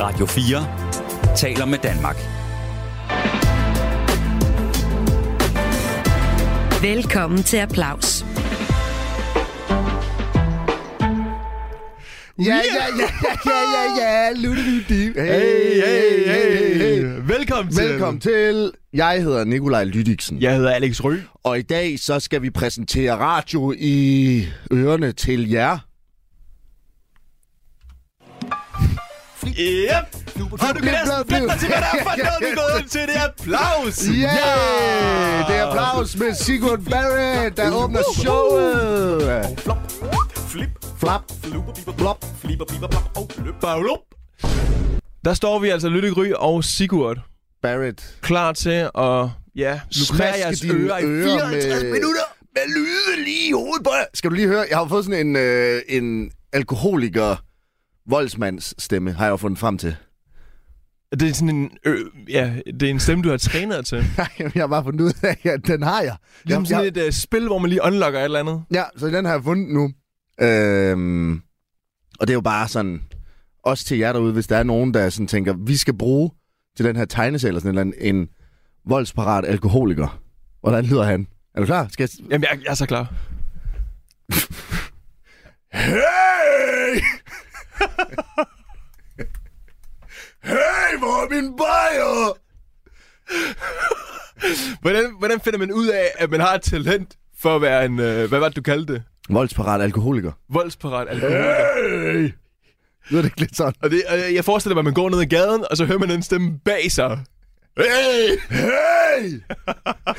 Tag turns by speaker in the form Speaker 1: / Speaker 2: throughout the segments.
Speaker 1: Radio 4 taler med Danmark.
Speaker 2: Velkommen til Applaus.
Speaker 3: Ja, ja, ja, ja, ja, ja, ja, Lutte
Speaker 4: Hey, hey, hey, hey. Velkommen til.
Speaker 3: Velkommen til. Jeg hedder Nikolaj Lydiksen,
Speaker 4: Jeg hedder Alex Rø.
Speaker 3: og i dag så skal vi præsentere radio i ørerne til jer.
Speaker 4: Yep. Har du kan næsten flytte dig til, hvad der er for noget, vi er gået ud til. Det er applaus.
Speaker 3: Yeah! Det er applaus med Sigurd Barrett,
Speaker 4: Uhuh.
Speaker 3: der åbner showet.
Speaker 4: Flop, flip,
Speaker 3: Flap,
Speaker 4: fluber, biber,
Speaker 3: Flop.
Speaker 4: fliber, biber, blop, og løber, lup. Der står vi altså, Lytte Gry og Sigurd,
Speaker 3: Barrett.
Speaker 4: klar til at ja, lukrere
Speaker 3: Smaske
Speaker 4: jeres
Speaker 3: dine
Speaker 4: ører i
Speaker 3: ører
Speaker 4: 54
Speaker 3: med-
Speaker 4: minutter med lyde lige i hovedet på jer.
Speaker 3: Skal du lige høre, jeg har jo fået sådan en, øh, en alkoholiker voldsmands stemme, har jeg jo fundet frem til.
Speaker 4: Det er sådan en, ø, ja, det er en stemme, du har trænet til.
Speaker 3: Nej, jeg har bare fundet ud af, at den har jeg.
Speaker 4: Ligesom
Speaker 3: jeg, jeg
Speaker 4: sådan et uh, spil, hvor man lige unlocker et eller andet.
Speaker 3: Ja, så den har jeg fundet nu. Øhm, og det er jo bare sådan, også til jer derude, hvis der er nogen, der sådan tænker, vi skal bruge til den her tegneserie eller sådan en, eller anden, en voldsparat alkoholiker. Hvordan lyder han? Er du klar? Skal jeg...
Speaker 4: Jamen, jeg, jeg er så klar.
Speaker 3: Hey! hey, hvor er min bajer?
Speaker 4: Hvordan, hvordan finder man ud af, at man har et talent for at være en, øh, hvad var det, du kaldte det?
Speaker 3: Voldsparat alkoholiker.
Speaker 4: Voldsparat alkoholiker.
Speaker 3: Hey! Lyder det ikke lidt sådan?
Speaker 4: Og, det, og jeg forestiller mig, at man går ned ad gaden, og så hører man den stemme bag sig.
Speaker 3: Hey! Hey!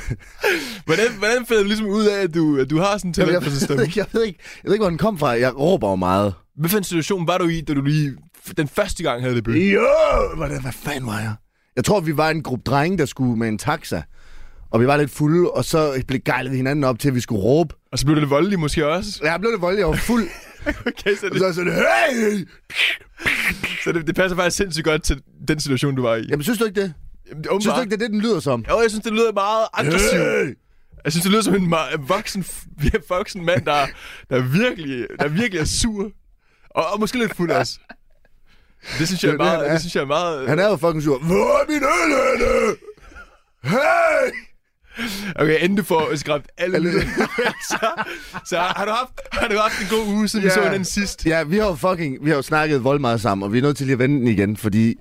Speaker 4: Hvordan, hvordan finder du ligesom ud af, at du, at du har sådan en
Speaker 3: Jamen, jeg,
Speaker 4: talent for sådan en
Speaker 3: ved
Speaker 4: stemme?
Speaker 3: ikke, jeg, ved ikke, jeg ved ikke, hvor den kom fra. Jeg råber jo meget.
Speaker 4: Hvad for en situation var du i, da du lige den første gang havde det bøg?
Speaker 3: Jo! Hvordan, hvad fanden var jeg? Jeg tror, vi var en gruppe drenge, der skulle med en taxa. Og vi var lidt fulde, og så blev gejlet vi hinanden op til, at vi skulle råbe.
Speaker 4: Og så blev du lidt voldelig måske også.
Speaker 3: Jeg blev lidt voldelig, jeg var fuld.
Speaker 4: Okay, så
Speaker 3: og
Speaker 4: det,
Speaker 3: så er jeg sådan, hey!
Speaker 4: så det, det passer faktisk sindssygt godt til den situation, du var i.
Speaker 3: Jamen, synes du ikke det?
Speaker 4: Jamen, det
Speaker 3: Synes du
Speaker 4: åbenbart.
Speaker 3: ikke, det er det, den lyder som?
Speaker 4: Jo, jeg synes, det lyder meget aggressivt.
Speaker 3: Hey!
Speaker 4: Jeg synes, det lyder som en ma- voksen, voksen mand, der, der, virkelig, der virkelig er sur. Og, og måske lidt fuld også. Det synes jeg
Speaker 3: Det
Speaker 4: er
Speaker 3: er det,
Speaker 4: meget...
Speaker 3: han er.
Speaker 4: Det synes jeg er meget...
Speaker 3: Han er jo fucking sur. Hvor er min øl henne? Hey!
Speaker 4: Okay, inden du får skræmt alle
Speaker 3: Alle-
Speaker 4: lytterne væk, så, så har, du haft, har du haft en god uge, siden vi så hinanden sidst.
Speaker 3: Ja, vi har jo fucking, vi har jo snakket vold meget sammen, og vi er nødt til lige at vende den igen, fordi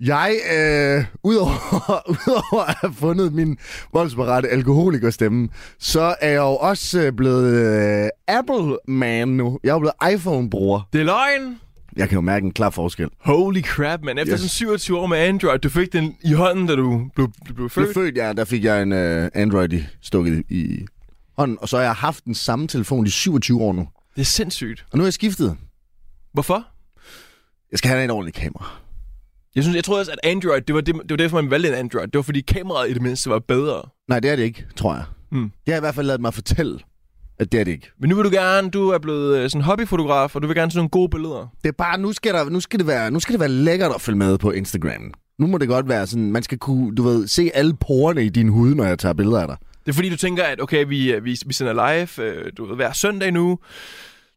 Speaker 3: jeg, øh, udover, udover at have fundet min voldsparate alkoholikerstemme, så er jeg jo også øh, blevet øh, Apple-man nu. Jeg er jo blevet iPhone-bruger.
Speaker 4: Det er løgn.
Speaker 3: Jeg kan jo mærke en klar forskel.
Speaker 4: Holy crap, man. Efter
Speaker 3: Yes.
Speaker 4: yes. sådan 27 år med Android, du fik den i hånden, da du blev, blev, blev
Speaker 3: Blev
Speaker 4: født.
Speaker 3: født, ja, der fik jeg en øh, Android i- stukket i hånden, og så har jeg haft den samme telefon i 27 år nu.
Speaker 4: Det er sindssygt.
Speaker 3: Og nu er jeg skiftet.
Speaker 4: Hvorfor?
Speaker 3: Jeg skal have en ordentlig kamera.
Speaker 4: Jeg, synes, jeg troede også, at Android, det var, det, det var derfor, man valgte en Android. Det var, fordi kameraet i det mindste var bedre.
Speaker 3: Nej, det er det ikke, tror jeg.
Speaker 4: Hmm.
Speaker 3: Det har jeg i hvert fald lavet mig fortælle, at det er det ikke.
Speaker 4: Men nu vil du gerne, du er blevet øh, sådan hobbyfotograf, og du vil gerne sådan nogle gode billeder.
Speaker 3: Det er bare, nu skal, der, nu, skal det være, nu skal det være lækkert at følge med på Instagram. Nu må det godt være sådan, man skal kunne, du ved, se alle porerne i din hud, når jeg tager billeder af dig.
Speaker 4: Det er fordi, du tænker, at okay, vi, øh, vi, vi sender live øh, du ved, hver søndag nu.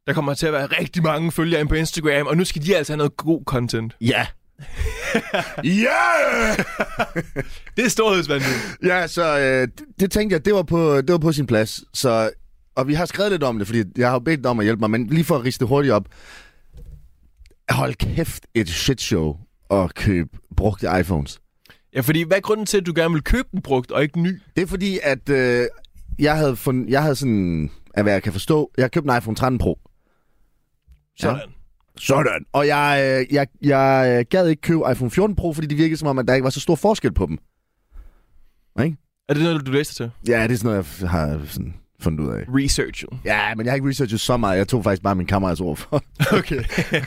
Speaker 4: Der kommer til at være rigtig mange følgere ind på Instagram, og nu skal de altså have noget god content.
Speaker 3: Ja. ja!
Speaker 4: Det er storhedsvandet.
Speaker 3: Ja, så øh, det, det tænkte jeg, det var på, det var på sin plads. Så, og vi har skrevet lidt om det, fordi jeg har jo bedt dig om at hjælpe mig, men lige for at riste det hurtigt op. Hold kæft, et shitshow at købe brugte iPhones.
Speaker 4: Ja, fordi hvad er grunden til, at du gerne vil købe den brugt og ikke ny?
Speaker 3: Det er fordi, at øh, jeg, havde fund, jeg havde sådan, af hvad jeg kan forstå, jeg købte en iPhone 13 Pro.
Speaker 4: Sådan.
Speaker 3: Sådan. Og jeg, øh, jeg, jeg øh, gad ikke købe iPhone 14 Pro, fordi det virkede som om, at der ikke var så stor forskel på dem.
Speaker 4: Er det noget, du læste til?
Speaker 3: Ja, det er sådan noget, jeg har sådan fundet ud af.
Speaker 4: Researchet.
Speaker 3: Ja, men jeg har ikke researchet så meget. Jeg tog faktisk bare min kammeras ord for.
Speaker 4: Okay.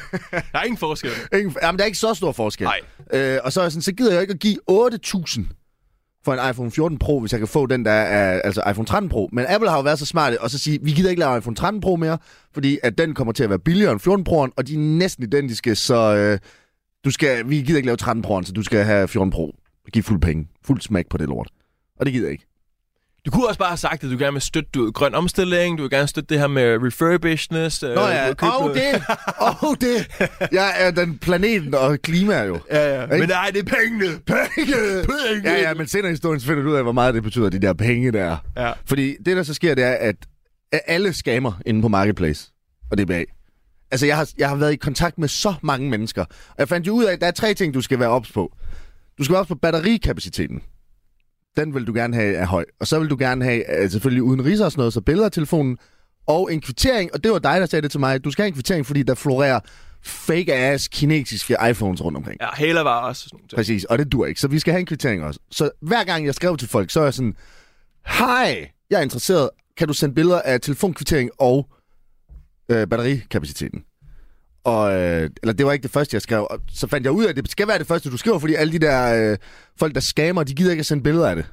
Speaker 4: der er ingen forskel.
Speaker 3: Ingen, jamen, der er ikke så stor forskel.
Speaker 4: Nej.
Speaker 3: Øh, og så, er jeg sådan, så gider jeg ikke at give 8.000 for en iPhone 14 Pro, hvis jeg kan få den, der er altså iPhone 13 Pro. Men Apple har jo været så smarte og så sige, vi gider ikke lave iPhone 13 Pro mere, fordi at den kommer til at være billigere end 14 Pro'en, og de er næsten identiske, så øh, du skal, vi gider ikke lave 13 Pro'en, så du skal have 14 Pro. Giv fuld penge. Fuld smæk på det lort. Og det gider jeg ikke.
Speaker 4: Du kunne også bare have sagt, at du gerne vil støtte du ved, grøn omstilling, du vil gerne støtte det her med øh, refurbishedness.
Speaker 3: Nå ja, og oh, det, og oh, det. Jeg er den planeten og klima jo.
Speaker 4: Ja, ja.
Speaker 3: Ikke?
Speaker 4: Men nej, det er pengene.
Speaker 3: Penge!
Speaker 4: Penge!
Speaker 3: Ja, ja, men senere i historien så finder du ud af, hvor meget det betyder, de der penge der.
Speaker 4: Ja.
Speaker 3: Fordi det, der så sker, det er, at at alle skammer inde på Marketplace og DBA. Altså, jeg har, jeg har været i kontakt med så mange mennesker. Og jeg fandt jo ud af, at der er tre ting, du skal være ops på. Du skal være ops på batterikapaciteten. Den vil du gerne have er høj. Og så vil du gerne have, øh, selvfølgelig uden riser og sådan noget, så billeder af telefonen. Og en kvittering, og det var dig, der sagde det til mig. Du skal have en kvittering, fordi der florerer fake-ass kinesiske iPhones rundt omkring.
Speaker 4: Ja, hæler var også sådan nogle ting.
Speaker 3: Præcis, og det dur ikke. Så vi skal have en kvittering også. Så hver gang jeg skrev til folk, så er jeg sådan, hej, jeg er interesseret. Kan du sende billeder af telefonkvittering og øh, batterikapaciteten? Og, øh, eller det var ikke det første, jeg skrev. Og så fandt jeg ud af, at det skal være det første, du skriver, fordi alle de der øh, folk, der skammer, de gider ikke at sende billeder af det.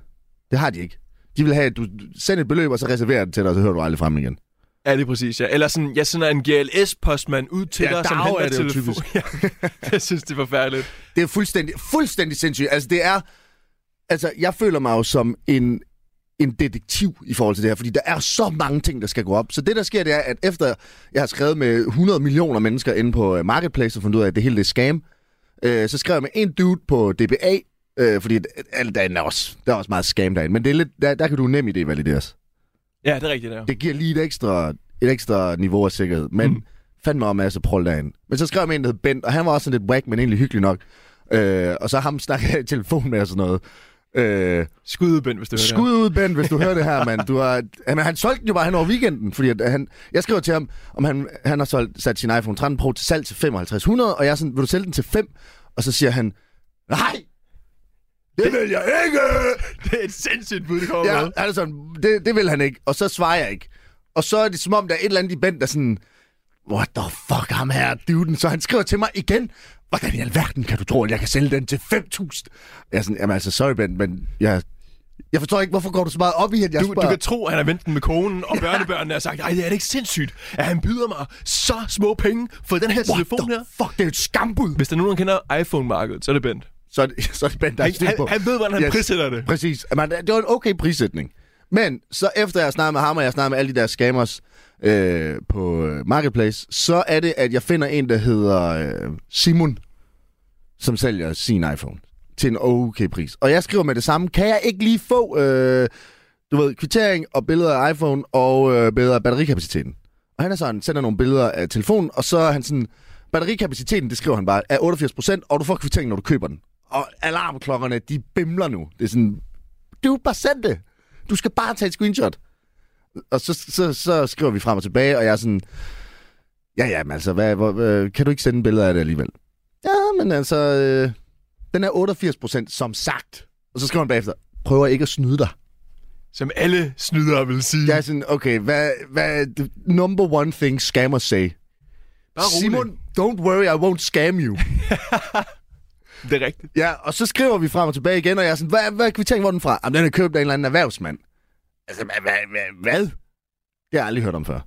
Speaker 3: Det har de ikke. De vil have, at du sender et beløb, og så reserverer det til dig, og så hører du aldrig frem igen.
Speaker 4: Ja, det er præcis, ja. Eller sådan, jeg sender en GLS-postmand ud til
Speaker 3: Ja,
Speaker 4: dig, som
Speaker 3: dag
Speaker 4: henter
Speaker 3: er det jo
Speaker 4: telefon.
Speaker 3: typisk.
Speaker 4: Ja, jeg synes, det er forfærdeligt.
Speaker 3: Det er fuldstændig, fuldstændig sindssygt. Altså, det er... Altså, jeg føler mig jo som en, en detektiv i forhold til det her, fordi der er så mange ting, der skal gå op. Så det, der sker, det er, at efter jeg har skrevet med 100 millioner mennesker inde på øh, Marketplace og fundet ud af, at det hele det er scam, øh, så skrev jeg med en dude på DBA, øh, fordi alt derinde er også, der er også meget scam derinde, men det er lidt, der, der kan du nem i det valideres.
Speaker 4: Ja, det er rigtigt, ja.
Speaker 3: Det giver lige et ekstra, et ekstra niveau af sikkerhed, men mm. fandme om masse prol derinde. Men så skrev jeg med en, der hed Bent, og han var også sådan lidt whack, men egentlig hyggelig nok. Øh, og så ham snakkede jeg i telefon med og sådan noget. Øh,
Speaker 4: Skudebind, hvis du hører
Speaker 3: Skud ud, Ben, hvis du hører det her, mand. Du har, jamen, han solgte den jo bare hen over weekenden, fordi at han, jeg skrev til ham, om han, han har solgt, sat sin iPhone 13 Pro til salg til 5500, og jeg er sådan, vil du sælge den til 5? Og så siger han, nej, det vil jeg ikke!
Speaker 4: Det, her. det er et sindssygt bud, det kommer
Speaker 3: Ja,
Speaker 4: med.
Speaker 3: han er sådan, det, det vil han ikke, og så svarer jeg ikke. Og så er det som om, der er et eller andet i Ben, der er sådan, what the fuck, ham her, er duden. Så han skriver til mig igen, hvordan i alverden kan du tro, at jeg kan sælge den til 5.000? Jeg er sådan, jamen altså, sorry Ben, men jeg, jeg forstår ikke, hvorfor går du så meget op i, at jeg
Speaker 4: Du, du
Speaker 3: spørger?
Speaker 4: kan tro, at han har ventet med konen og børnebørnene og sagt, ej, det er det ikke sindssygt, at han byder mig så små penge for den her telefon her.
Speaker 3: fuck, det er et skambud.
Speaker 4: Hvis der er nogen, der kender iPhone-markedet, så er det Bent.
Speaker 3: Så er det, så er det Ben, der er
Speaker 4: Han-
Speaker 3: styr på.
Speaker 4: han- han ved, hvordan han prissætter det.
Speaker 3: Præcis. Men det var en okay prissætning. Men så efter jeg snakker med ham, og jeg snakker med alle de der scammers øh, på øh, Marketplace, så er det, at jeg finder en, der hedder øh, Simon, som sælger sin iPhone til en okay pris. Og jeg skriver med det samme, kan jeg ikke lige få, øh, du ved, kvittering og billeder af iPhone og øh, billeder af batterikapaciteten? Og han er sådan, sender nogle billeder af telefonen, og så er han sådan, batterikapaciteten, det skriver han bare, er 88%, og du får kvitteringen, når du køber den. Og alarmklokkerne, de bimler nu. Det er sådan, du bare send det. Du skal bare tage et screenshot. Og så, så, så skriver vi frem og tilbage, og jeg er sådan, ja, ja, men altså, hvad, hvor, øh, kan du ikke sende billeder af det alligevel? Ja, men altså, øh, den er 88% som sagt. Og så skriver han bagefter, prøver ikke at snyde dig.
Speaker 4: Som alle snydere vil sige.
Speaker 3: Jeg er sådan, okay, hvad, hvad er the number one thing scammers say?
Speaker 4: Bare rolig.
Speaker 3: Simon, don't worry, I won't scam you.
Speaker 4: Det er rigtigt.
Speaker 3: ja, og så skriver vi frem og tilbage igen, og jeg er sådan, hvad, hvad er kvitteringen, hvor er den fra? Jamen, den er købt af en eller anden erhvervsmand. Altså, hvad, hvad, hvad, hvad? Det har jeg aldrig hørt om før.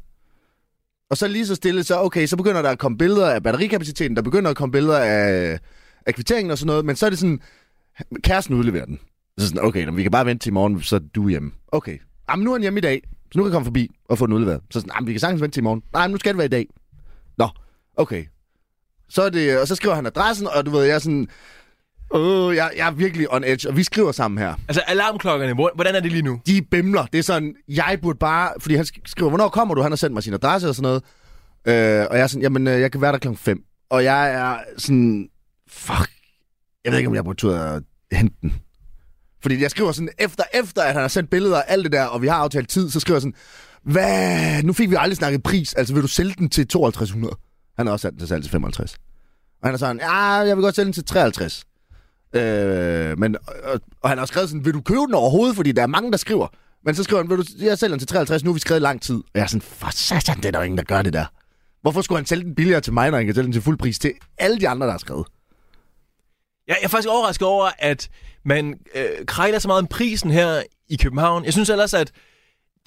Speaker 3: Og så lige så stille, så okay, så begynder der at komme billeder af batterikapaciteten, der begynder at komme billeder af, af kvitteringen og sådan noget, men så er det sådan, kæresten udleverer den. Så er sådan, okay, nå, vi kan bare vente til i morgen, så er du hjemme. Okay, jamen nu er han hjemme i dag, så nu kan jeg komme forbi og få den udleveret. Så er sådan, jamen vi kan sagtens vente til i morgen. Nej, men nu skal det være i dag. Nå, okay. Så er det, og så skriver han adressen, og du ved, jeg er sådan, åh, jeg, jeg er virkelig on edge, og vi skriver sammen her.
Speaker 4: Altså, alarmklokkerne, hvor- hvordan er det lige nu?
Speaker 3: De bimler. Det er sådan, jeg burde bare... Fordi han sk- skriver, hvornår kommer du? Han har sendt mig sin adresse og sådan noget. Øh, og jeg er sådan, jamen, øh, jeg kan være der klokken 5. Og jeg er sådan, fuck. Jeg ved ikke, om jeg burde turde at hente den. Fordi jeg skriver sådan, efter, efter at han har sendt billeder og alt det der, og vi har aftalt tid, så skriver jeg sådan, hvad? Nu fik vi aldrig snakket pris. Altså, vil du sælge den til 5200? Han har også sat den til salg til 55. Og han er sådan, ja, jeg vil godt sælge den til 53. Øh, men, og, og, han har skrevet sådan, vil du købe den overhovedet? Fordi der er mange, der skriver. Men så skriver han, vil du, jeg sælger den til 53, nu har vi skrevet i lang tid. Og jeg er sådan, for satan, det er der jo ingen, der gør det der. Hvorfor skulle han sælge den billigere til mig, når han kan sælge den til fuld pris til alle de andre, der har skrevet?
Speaker 4: Jeg, jeg er faktisk overrasket over, at man øh, krejler så meget om prisen her i København. Jeg synes ellers, at det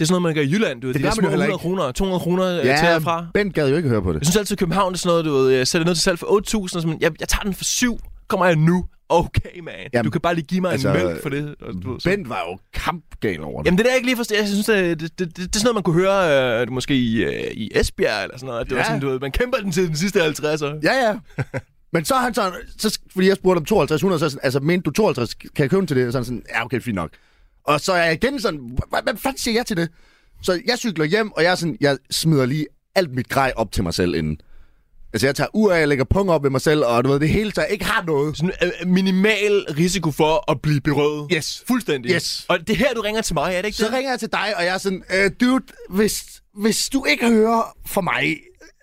Speaker 4: er sådan noget, man gør i Jylland. Du ved,
Speaker 3: Det
Speaker 4: det, det
Speaker 3: gør
Speaker 4: er
Speaker 3: man jo
Speaker 4: små
Speaker 3: heller
Speaker 4: 100
Speaker 3: ikke.
Speaker 4: kroner, 200 kroner øh, til og fra.
Speaker 3: Bent gad jo ikke høre på
Speaker 4: Jeg
Speaker 3: det.
Speaker 4: synes altid, at København er sådan noget, du ved, jeg sætter noget til salg for 8.000, og så, men jeg, jeg tager den for 7, kommer jeg nu, okay, man. Jamen,
Speaker 3: Jamen,
Speaker 4: du kan bare lige give mig altså,
Speaker 3: altså,
Speaker 4: en mælk for det. Og, du, ved, så-
Speaker 3: Bent var jo kampgal over det.
Speaker 4: Jamen det der jeg ikke lige forstår, jeg synes, det, det, det, det er sådan noget, man kunne høre øh, måske i, øh, i Esbjerg eller sådan noget. at Det ja. var
Speaker 3: Ja.
Speaker 4: sådan, du ved, man kæmper den til den sidste 50'er.
Speaker 3: Ja, ja. Men så er han sådan, så, fordi jeg spurgte om 5200, så er jeg sådan, altså mente du 52, kan jeg købe den til det? Og så er han sådan, ja okay, fint nok. Og så er jeg igen sådan, hvad, hvad fanden siger jeg til det? Så jeg cykler hjem, og jeg, er sådan, jeg smider lige alt mit grej op til mig selv inden. Altså jeg tager ur af, jeg lægger pung op ved mig selv, og du ved, det hele, så jeg ikke har noget.
Speaker 4: Sådan øh, minimal risiko for at blive berøvet.
Speaker 3: Yes.
Speaker 4: Fuldstændig.
Speaker 3: Yes.
Speaker 4: Og det er her, du ringer til mig, er det ikke
Speaker 3: Så
Speaker 4: det?
Speaker 3: ringer jeg til dig, og jeg er sådan, øh, dude, hvis, hvis du ikke hører fra mig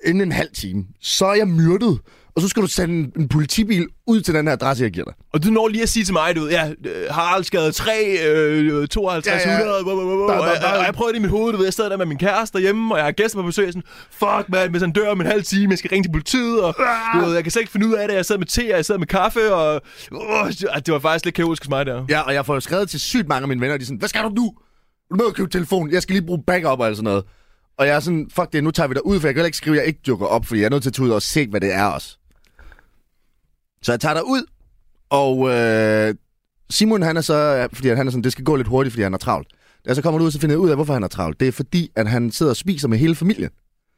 Speaker 3: inden en halv time, så er jeg myrdet. Og så skal du sende en, en politibil ud til den her adresse, jeg giver dig.
Speaker 4: Og du når lige at sige til mig, du ved, ja, øh, Haraldsgade 3, øh, 52,
Speaker 3: Ja, ja.
Speaker 4: 100, blah, blah, blah, blah.
Speaker 3: Der-
Speaker 4: Og
Speaker 3: der-
Speaker 4: jeg-
Speaker 3: der-
Speaker 4: og jeg prøver det i mit hoved, du ved, jeg sidder der med min kæreste derhjemme, og jeg har gæster på besøg, og sådan, fuck man, hvis han dør om en halv time, jeg skal ringe til politiet, og
Speaker 3: Ah!
Speaker 4: du ved, jeg kan slet ikke finde ud af det, jeg sidder med te, og jeg sidder med kaffe, og uh, det var faktisk lidt kaotisk hos mig der.
Speaker 3: Ja, og jeg får jo skrevet til sygt mange af mine venner, og de er sådan, hvad skal du nu? Du må jo købe telefon, jeg skal lige bruge backup og alt sådan noget. Og jeg er sådan, fuck det, nu tager vi dig ud, for jeg kan heller ikke skrive, at jeg ikke dukker op, fordi jeg er nødt til at tage ud og se, hvad det er også. Så jeg tager dig ud, og øh, Simon han er så, fordi han er sådan, det skal gå lidt hurtigt, fordi han har travlt. Da jeg så kommer du ud, så finder jeg ud af, hvorfor han har travlt. Det er fordi, at han sidder og spiser med hele familien.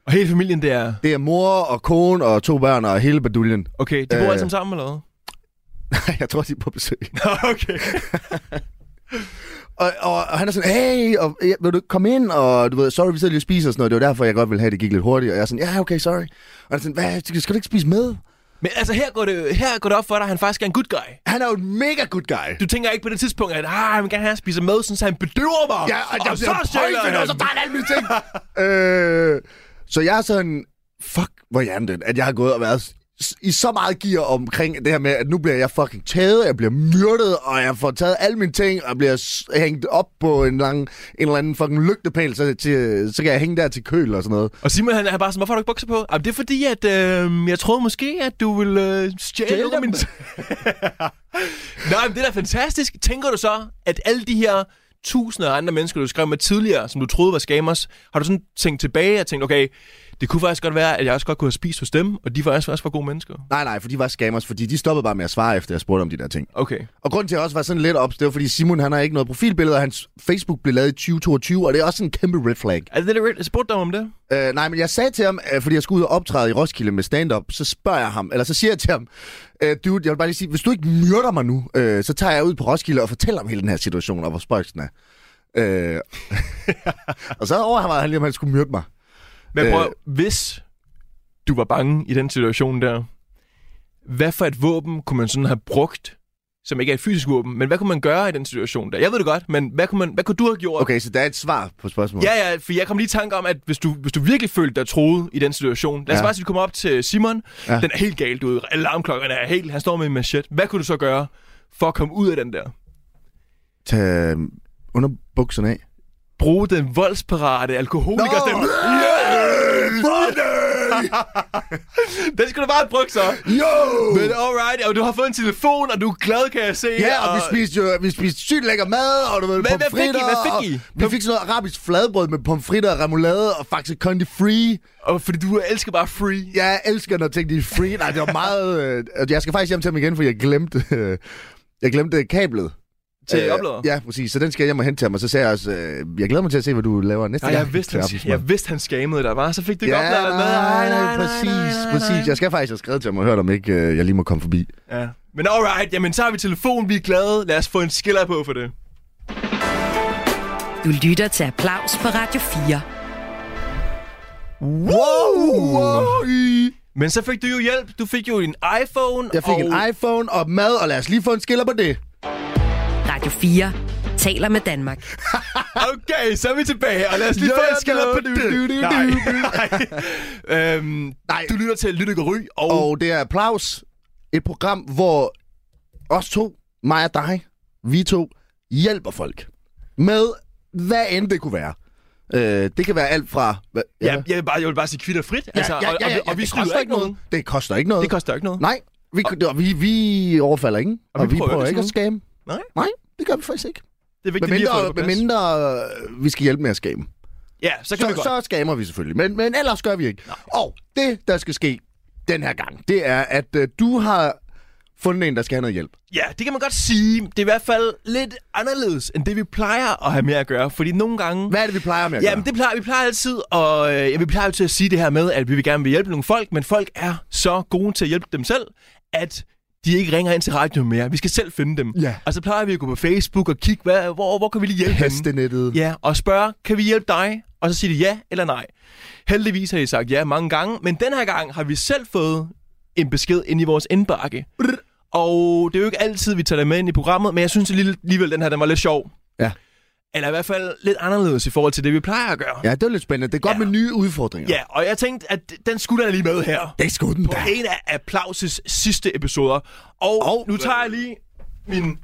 Speaker 4: Og hele familien der,
Speaker 3: Det er mor og kone og to børn og hele baduljen.
Speaker 4: okay, de bor
Speaker 3: Øh.
Speaker 4: alle sammen sammen, eller hvad?
Speaker 3: jeg tror, de er på besøg.
Speaker 4: okay.
Speaker 3: Og, og, og han er sådan, hey, og, ja, vil du ikke komme ind? Og du ved, sorry, vi sidder lige og spiser og sådan noget. Det var derfor, jeg godt ville have, at det gik lidt hurtigt. Og jeg er sådan, ja, okay, sorry. Og han er sådan, hvad, skal skal du ikke spise med?
Speaker 4: Men altså, her går det, her går det op for dig, at han faktisk er en good guy.
Speaker 3: Han er jo en mega good guy.
Speaker 4: Du tænker ikke på det tidspunkt, at ah, jeg vil gerne have, at han spiser med, sådan, så han bedøver mig.
Speaker 3: Ja, og, jeg bliver
Speaker 4: stjæler
Speaker 3: pointet,
Speaker 4: han.
Speaker 3: og så tager han alle mine ting. øh, så jeg er sådan, fuck, hvor er den, at jeg har gået og været s- i så meget gear omkring det her med, at nu bliver jeg fucking taget, jeg bliver myrdet, og jeg får taget alle mine ting, og jeg bliver s- hængt op på en, lang, en eller anden fucking lygtepæl, så, til, så kan jeg hænge der til køl og sådan noget.
Speaker 4: Og Simon, han er bare sådan, hvorfor har du ikke bukser på? Jamen, det er fordi, at øh, jeg troede måske, at du ville øh, stjæle
Speaker 3: Stjæle
Speaker 4: dem.
Speaker 3: dem.
Speaker 4: min... Nej, men det er da fantastisk. Tænker du så, at alle de her tusinder af andre mennesker, du skrev med tidligere, som du troede var scammers, har du sådan tænkt tilbage og tænkt, okay, det kunne faktisk godt være, at jeg også godt kunne have spist hos dem, og de var også, også var gode mennesker.
Speaker 3: Nej, nej, for de var scammers, fordi de stoppede bare med at svare efter, jeg spurgte om de der ting.
Speaker 4: Okay.
Speaker 3: Og grunden til, at jeg også var sådan lidt ops, det var, fordi Simon, han har ikke noget profilbillede, og hans Facebook blev lavet i 2022, og det er også en kæmpe red flag.
Speaker 4: Er det lidt rigtigt? Jeg spurgte dig om det.
Speaker 3: Øh, nej, men jeg sagde til ham, øh, fordi jeg skulle ud og optræde i Roskilde med stand-up, så spørger jeg ham, eller så siger jeg til ham, øh, dude, jeg vil bare lige sige, hvis du ikke myrder mig nu, øh, så tager jeg ud på Roskilde og fortæller om hele den her situation, og hvor spøjs den er. Øh, og så overvejede han lige, om han skulle myrde mig.
Speaker 4: Men prøv,
Speaker 3: Øh.
Speaker 4: øh. hvis du var bange i den situation der, hvad for et våben kunne man sådan have brugt, som ikke er et fysisk våben, men hvad kunne man gøre i den situation der? Jeg ved det godt, men hvad kunne, man, hvad kunne du have gjort?
Speaker 3: Okay, så der er et svar på spørgsmålet.
Speaker 4: Ja, ja, for jeg kom lige i tanke om, at hvis du, hvis du virkelig følte dig troet i den situation, lad os
Speaker 3: Ja.
Speaker 4: bare sige, du kommer op til Simon, ja.
Speaker 3: Ja.
Speaker 4: den er helt galt ud, alarmklokkerne er helt, han står med en machette. Hvad kunne du så gøre for at komme ud af den der?
Speaker 3: Tag underbukserne af.
Speaker 4: Bruge den voldsparate alkoholiker stemme. Den skulle du bare have brugt så.
Speaker 3: Yo!
Speaker 4: Men alright, og du har fået en telefon, og du er glad, kan jeg se.
Speaker 3: Ja, og vi spiste jo vi spiste sygt lækker mad, og du ved,
Speaker 4: Hvad- hvad fik I?
Speaker 3: pomfritter,
Speaker 4: Hvad fik I?
Speaker 3: og Vi fik sådan noget arabisk fladbrød med pomfritter, remoulade og faktisk Condi Free.
Speaker 4: og fordi du elsker bare free.
Speaker 3: Jeg elsker, når ting de er free. Nej, det var meget... Øh, og jeg skal faktisk hjem til ham igen, for jeg glemte, øh, jeg glemte kablet.
Speaker 4: Til
Speaker 3: Øh,
Speaker 4: oplader?
Speaker 3: Ja, præcis. Så den skal jeg hjem og hente til ham, og så sagde jeg også, øh, jeg glæder mig til at se, hvad du laver næste
Speaker 4: Nej,
Speaker 3: gang.
Speaker 4: jeg vidste,
Speaker 3: til
Speaker 4: han,
Speaker 3: aftensmad.
Speaker 4: jeg vidste, han scammede dig, var. Så fik du ikke
Speaker 3: Ja,
Speaker 4: opladet med.
Speaker 3: nej, nej, præcis, præcis. Jeg skal faktisk have skrevet til ham og hørt, om ikke øh, jeg lige må komme forbi.
Speaker 4: Ja. Men alright, jamen så har vi telefon, vi er glade. Lad os få en skiller på for det.
Speaker 2: Du lytter til Applaus på Radio 4.
Speaker 3: Wow! wow.
Speaker 4: Men så fik du jo hjælp. Du fik jo en iPhone.
Speaker 3: Jeg fik
Speaker 4: og...
Speaker 3: en iPhone og mad, og lad os lige få en skiller på det.
Speaker 2: Radio 4 taler med Danmark.
Speaker 4: Okay, så er vi tilbage, og lad os lige
Speaker 3: Ja,
Speaker 4: få en skiller
Speaker 3: da,
Speaker 4: på
Speaker 3: du,
Speaker 4: det.
Speaker 3: du, du,
Speaker 4: Nej. øhm,
Speaker 3: Nej.
Speaker 4: Du lytter til Lytte Ry, og...
Speaker 3: Og det er Applaus, et program, hvor os to, mig og dig, vi to, hjælper folk med, hvad end det kunne være. Øh, det kan være alt fra... Hvad,
Speaker 4: Ja, jeg, vil bare, jeg vil bare sige kvitter frit. altså, og, og, og,
Speaker 3: det
Speaker 4: vi
Speaker 3: koster
Speaker 4: skyder ikke noget.
Speaker 3: Det koster ikke noget.
Speaker 4: Det koster ikke noget.
Speaker 3: Nej, vi, og, vi, vi overfalder ingen, og,
Speaker 4: vi
Speaker 3: vi
Speaker 4: prøver
Speaker 3: prøver,
Speaker 4: ikke
Speaker 3: ikke at skamme.
Speaker 4: Nej.
Speaker 3: Nej, det gør vi faktisk ikke.
Speaker 4: Det er vigtigt
Speaker 3: Med
Speaker 4: lige at få
Speaker 3: mindre,
Speaker 4: det på
Speaker 3: med
Speaker 4: plads.
Speaker 3: mindre øh, vi skal hjælpe med at skamme.
Speaker 4: Ja, så kan vi
Speaker 3: så,
Speaker 4: godt.
Speaker 3: så skammer vi selvfølgelig, men, men ellers gør vi ikke. Og det, der skal ske den her gang, det er, at øh, du har fundet en, der skal have noget hjælp.
Speaker 4: Ja, det kan man godt sige. Det er i hvert fald lidt anderledes, end det vi plejer at have med at gøre. Fordi nogle gange...
Speaker 3: Hvad er det, vi plejer med at
Speaker 4: Ja,
Speaker 3: gøre?
Speaker 4: men det plejer, vi plejer altid, og øh, ja, vi plejer jo til at sige det her med, at vi vil gerne vil hjælpe nogle folk, men folk er så gode til at hjælpe dem selv, at de ikke ringer ind til radioen mere. Vi skal selv finde dem.
Speaker 3: Ja.
Speaker 4: Og så plejer vi at gå på Facebook og kigge, hvad, hvor, hvor kan vi lige hjælpe henne?
Speaker 3: Hestenettet.
Speaker 4: Ja, og spørge, kan vi hjælpe dig? Og så siger de ja eller nej. Heldigvis har I sagt ja mange gange, men den her gang har vi selv fået en besked ind i vores indbakke. Og det er jo ikke altid, vi tager det med ind i programmet, men jeg synes alligevel, alligevel, den her den var lidt sjov.
Speaker 3: Ja.
Speaker 4: Eller i hvert fald lidt anderledes i forhold til det, vi plejer at gøre.
Speaker 3: ja, det er lidt spændende. Det er godt
Speaker 4: Ja.
Speaker 3: med nye udfordringer.
Speaker 4: Ja, og jeg tænkte, at den skulle da lige med her.
Speaker 3: Det skulle den
Speaker 4: På
Speaker 3: da.
Speaker 4: en af Applauses sidste episoder. Og
Speaker 3: Og-
Speaker 4: oh, nu tager jeg lige min,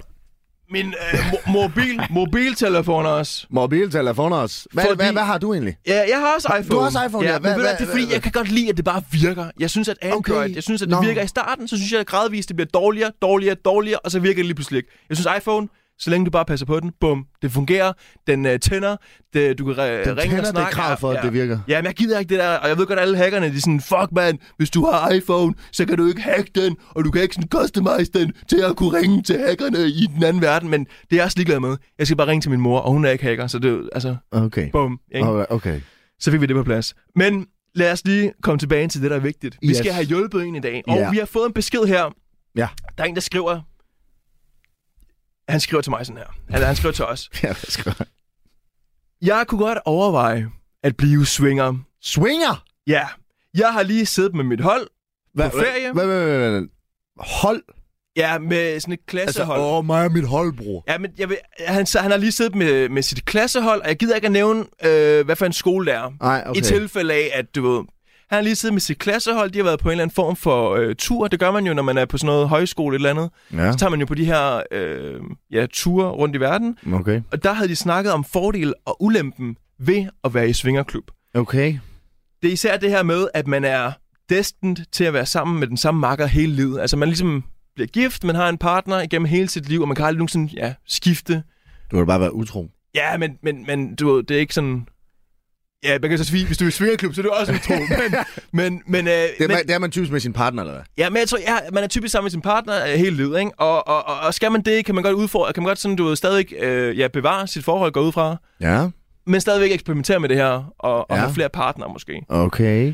Speaker 4: min øh, mo- mobil, mobiltelefon også.
Speaker 3: Mobiltelefoner os. Hvad,
Speaker 4: Fordi-
Speaker 3: hvad, hvad har du egentlig?
Speaker 4: Ja, jeg har også iPhone.
Speaker 3: Du har også iPhone, ja.
Speaker 4: men
Speaker 3: Hvad-
Speaker 4: ved du hvad,
Speaker 3: hvad-
Speaker 4: det er fordi,
Speaker 3: hvad-
Speaker 4: jeg kan godt lide, at det bare virker. Jeg synes, at Android,
Speaker 3: Okay.
Speaker 4: jeg synes, at det
Speaker 3: Nå.
Speaker 4: virker i starten, så synes jeg at gradvist, det bliver dårligere, dårligere, dårligere, og så virker det lige pludselig ikke. Jeg synes iPhone, så længe du bare passer på den, bum, det fungerer, den øh, tænder, det, du kan øh, ringe
Speaker 3: tænder,
Speaker 4: og
Speaker 3: det er
Speaker 4: snakke.
Speaker 3: krav for, at
Speaker 4: ja.
Speaker 3: det virker.
Speaker 4: Ja, men jeg gider ikke det der, og jeg ved godt, at alle hackerne, de er sådan, fuck man, hvis du har iPhone, så kan du ikke hacke den, og du kan ikke sådan customize den til at kunne ringe til hackerne i den anden verden, men det er jeg også ligeglad med. Jeg skal bare ringe til min mor, og hun er ikke hacker, så det er jo- altså,
Speaker 3: Okay.
Speaker 4: bum. Ikke?
Speaker 3: Alright, Okay.
Speaker 4: så fik vi det på plads. Men lad os lige komme tilbage til det, der er vigtigt. Vi
Speaker 3: Yes.
Speaker 4: skal have hjulpet en i dag, og
Speaker 3: Ja.
Speaker 4: vi har fået en besked her.
Speaker 3: Ja.
Speaker 4: Der er en, der skriver... Han skriver til mig sådan her. Eller han skriver til os.
Speaker 3: Ja, hvad skal jeg-
Speaker 4: Jeg kunne godt overveje at blive swinger.
Speaker 3: Swinger!
Speaker 4: Ja, jeg har lige siddet med mit hold.
Speaker 3: Hva-
Speaker 4: På ferie?
Speaker 3: Hvad, hvad, hvad, hvad, hvad? Hold?
Speaker 4: Ja, med sådan et klassehold.
Speaker 3: åh, mig Altså, og mit holdbror.
Speaker 4: Ja, men jeg vil, han, så, han har lige siddet med, med sit klassehold, og jeg gider ikke at nævne, øh, hvad for en skole det er.
Speaker 3: Nej, okay.
Speaker 4: Okay. I tilfælde af, at du ved, han har lige siddet med sit klassehold, de har været på en eller anden form for øh, tur. Det gør man jo, når man er på sådan noget højskole eller andet.
Speaker 3: Ja,
Speaker 4: Så tager man jo på de her øh, ja, ture rundt i verden.
Speaker 3: okay.
Speaker 4: Og der havde de snakket om fordel og ulempen ved at være i svingerklub.
Speaker 3: Okay.
Speaker 4: Det er især det her med, at man er destined til at være sammen med den samme makker hele livet. Altså man ligesom bliver gift, man har en partner igennem hele sit liv, og man kan aldrig nogensinde ja, skifte
Speaker 3: Du har da bare været utro.
Speaker 4: Ja, men, men, men du ved, det er ikke sådan... Ja, man kan så sige, hvis du er i svingerklub, så er det jo også en tro. Men, men, men, øh,
Speaker 3: Det er,
Speaker 4: men,
Speaker 3: man, det er man typisk med sin partner, eller hvad?
Speaker 4: ja, men jeg tror, ja, man er typisk sammen med sin partner øh, hele livet, ikke? Og, og, og, og, skal man det, kan man godt udfordre, kan man godt sådan, du ved, stadig øh, ja, bevare sit forhold, gå ud fra,
Speaker 3: Ja,
Speaker 4: men stadigvæk eksperimentere med det her, og, og
Speaker 3: Ja.
Speaker 4: have flere partnere måske.
Speaker 3: okay.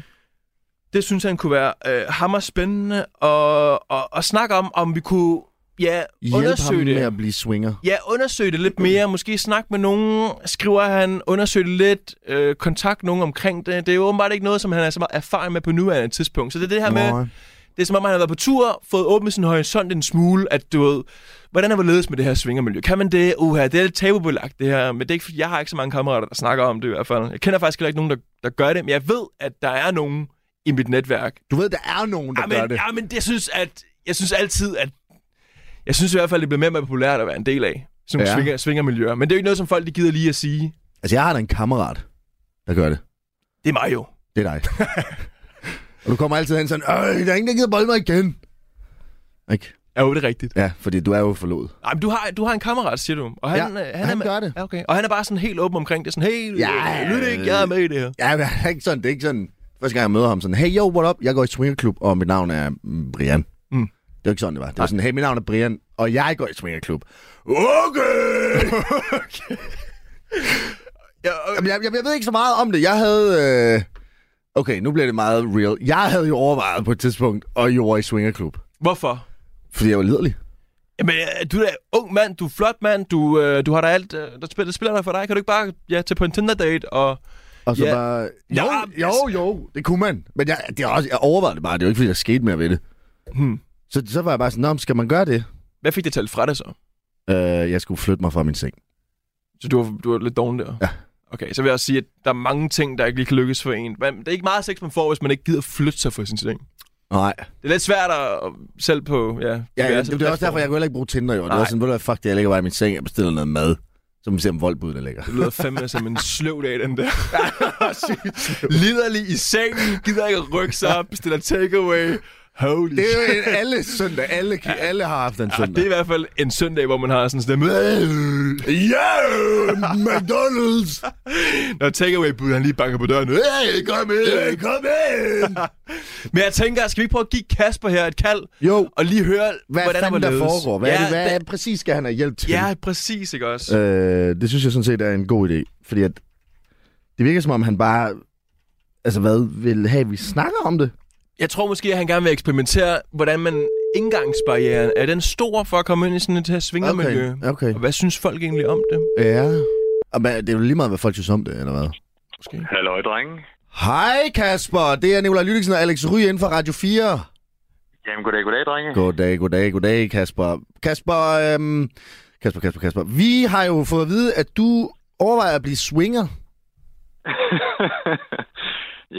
Speaker 4: Det synes han kunne være øh, hammer spændende, og, og, og snakke om, om vi kunne ja,
Speaker 3: Hjælp ham
Speaker 4: undersøge det.
Speaker 3: med at blive swinger.
Speaker 4: Ja, undersøg det lidt mere. Måske snak med nogen, skriver han. Undersøg det lidt. Øh, kontakt nogen omkring det. Det er jo åbenbart ikke noget, som han er så meget erfaring med på nuværende tidspunkt. Så det er det her med,
Speaker 3: Nå.
Speaker 4: det er som om, han har været på tur, fået åbnet sin horisont en smule, at du ved, hvordan er ledes med det her svingermiljø? Kan man det? Uha, det er lidt tabubelagt det her, men det er ikke, fordi jeg har ikke så mange kammerater, der snakker om det i hvert fald. Jeg kender faktisk heller ikke nogen, der, der gør det, men jeg ved, at der er nogen i mit netværk,
Speaker 3: Du ved, der er nogen, der
Speaker 4: Ja, men,
Speaker 3: gør det.
Speaker 4: ja, men det synes, at, jeg synes altid, at... Jeg synes i hvert fald, det bliver mere og mere populært at være en del af. Sådan
Speaker 3: Ja.
Speaker 4: ja. svinger, svingermiljøer. Men det er jo ikke noget, som folk de gider lige at sige.
Speaker 3: Altså, jeg har da en kammerat, der gør det.
Speaker 4: Det er mig jo.
Speaker 3: Det er dig. og du kommer altid hen sådan, Øh, der er ingen, der gider bolde mig igen. Ikke?
Speaker 4: Ja, jo, det er rigtigt.
Speaker 3: Ja, fordi du er jo forlovet.
Speaker 4: Ej, men du har, du har en kammerat, siger du. Og han,
Speaker 3: Ja,
Speaker 4: øh,
Speaker 3: han
Speaker 4: er med,
Speaker 3: gør det.
Speaker 4: Ja, okay. Og han er bare sådan helt åben omkring det. Sådan, hey,
Speaker 3: Ja,
Speaker 4: ja, lyt ikke, jeg er med i det her.
Speaker 3: Ja, men det er ikke sådan, det er ikke sådan, første gang jeg møder ham, sådan, hey, yo, what up, jeg går i swingerklub, og mit navn er mm, Brian. Mm.
Speaker 4: Mm.
Speaker 3: Det var ikke sådan, det var. Det var sådan, hey, mit navn er Brian, og jeg går i swingerklub. Okay!
Speaker 4: Ja, og,
Speaker 3: Jamen, jeg, jeg, jeg ved ikke så meget om det. Jeg havde... Øh... Okay, nu bliver det meget real. Jeg havde jo overvejet på et tidspunkt, og jo var i swingerklub.
Speaker 4: hvorfor?
Speaker 3: Fordi jeg var liderlig.
Speaker 4: Jamen, øh, du er da ung mand, du er flot mand, du, øh, du har da alt, øh, der spiller, der spiller der for dig. Kan du ikke bare ja, tage på en Tinder-date? Og...
Speaker 3: Og så
Speaker 4: Ja.
Speaker 3: bare... Jo,
Speaker 4: Ja,
Speaker 3: jo,
Speaker 4: altså-
Speaker 3: jo, det kunne man. Men jeg, det er også, jeg overvejede det bare. Det er jo ikke, fordi der skete mere ved det.
Speaker 4: Hmm.
Speaker 3: Så, så var jeg bare sådan, Nå, men skal man gøre det?
Speaker 4: Hvad fik det talt fra dig så?
Speaker 3: Øh, jeg skulle flytte mig fra min seng.
Speaker 4: Så du var, du var lidt doven der?
Speaker 3: Ja.
Speaker 4: Okay, så vil jeg også sige, at der er mange ting, der ikke lige kan lykkes for en. Men det er ikke meget sex, man får, hvis man ikke gider flytte sig fra sin seng.
Speaker 3: Nej.
Speaker 4: Det er lidt svært at selv på... Ja,
Speaker 3: Ja, ja,
Speaker 4: diverse
Speaker 3: det, det er også derfor,
Speaker 4: platforme.
Speaker 3: jeg kunne heller ikke bruge Tinder, jo. Det var
Speaker 4: Nej.
Speaker 3: sådan, ved du hvad, fuck det, jeg ligger bare i min seng, jeg bestiller noget mad. Så må vi se, om voldbuddet ligger.
Speaker 4: Det lyder fandme som en sløv dag, den der. Liderlig i sengen, gider ikke at rykke sig op, bestiller takeaway. Holy
Speaker 3: Det er jo en, alle søndag. Alle, ja. alle har haft en
Speaker 4: Ja,
Speaker 3: søndag.
Speaker 4: det er i hvert fald en søndag, hvor man har sådan en stemme.
Speaker 3: Yeah! McDonald's!
Speaker 4: Når takeaway-bud, han lige banker på døren. Hey, kom ind!
Speaker 3: Kom ind!
Speaker 4: Men jeg tænker, skal vi ikke prøve at give Kasper her et kald?
Speaker 3: Jo.
Speaker 4: Og lige høre,
Speaker 3: Hvad
Speaker 4: hvordan
Speaker 3: fanden der
Speaker 4: hvorledes?
Speaker 3: foregår? Hvad, ja, er det, hvad
Speaker 4: da-
Speaker 3: er, præcis skal han have hjælp til?
Speaker 4: Ja, præcis, ikke også?
Speaker 3: Øh, det synes jeg sådan set er en god idé. Fordi at det virker som om, han bare... Altså hvad vil have, vi snakker om det?
Speaker 4: Jeg tror måske, at han gerne vil eksperimentere, hvordan man indgangsbarrieren, er den stor for at komme ind i sådan et her svingermiljø?
Speaker 3: Okay, okay.
Speaker 4: Og hvad synes folk egentlig om det?
Speaker 3: Ja. Og hvad, det er jo lige meget, hvad folk synes om det, eller hvad?
Speaker 4: Måske.
Speaker 5: Hallo, drenge.
Speaker 3: Hej Kasper, det er Nikolaj Lydiksen og Alex Ry inden for Radio 4.
Speaker 5: Jamen, goddag, goddag, drenge.
Speaker 3: Goddag, goddag, goddag Kasper. Kasper, øhm, Kasper, Kasper, Kasper. Vi har jo fået at vide, at du overvejer at blive swinger.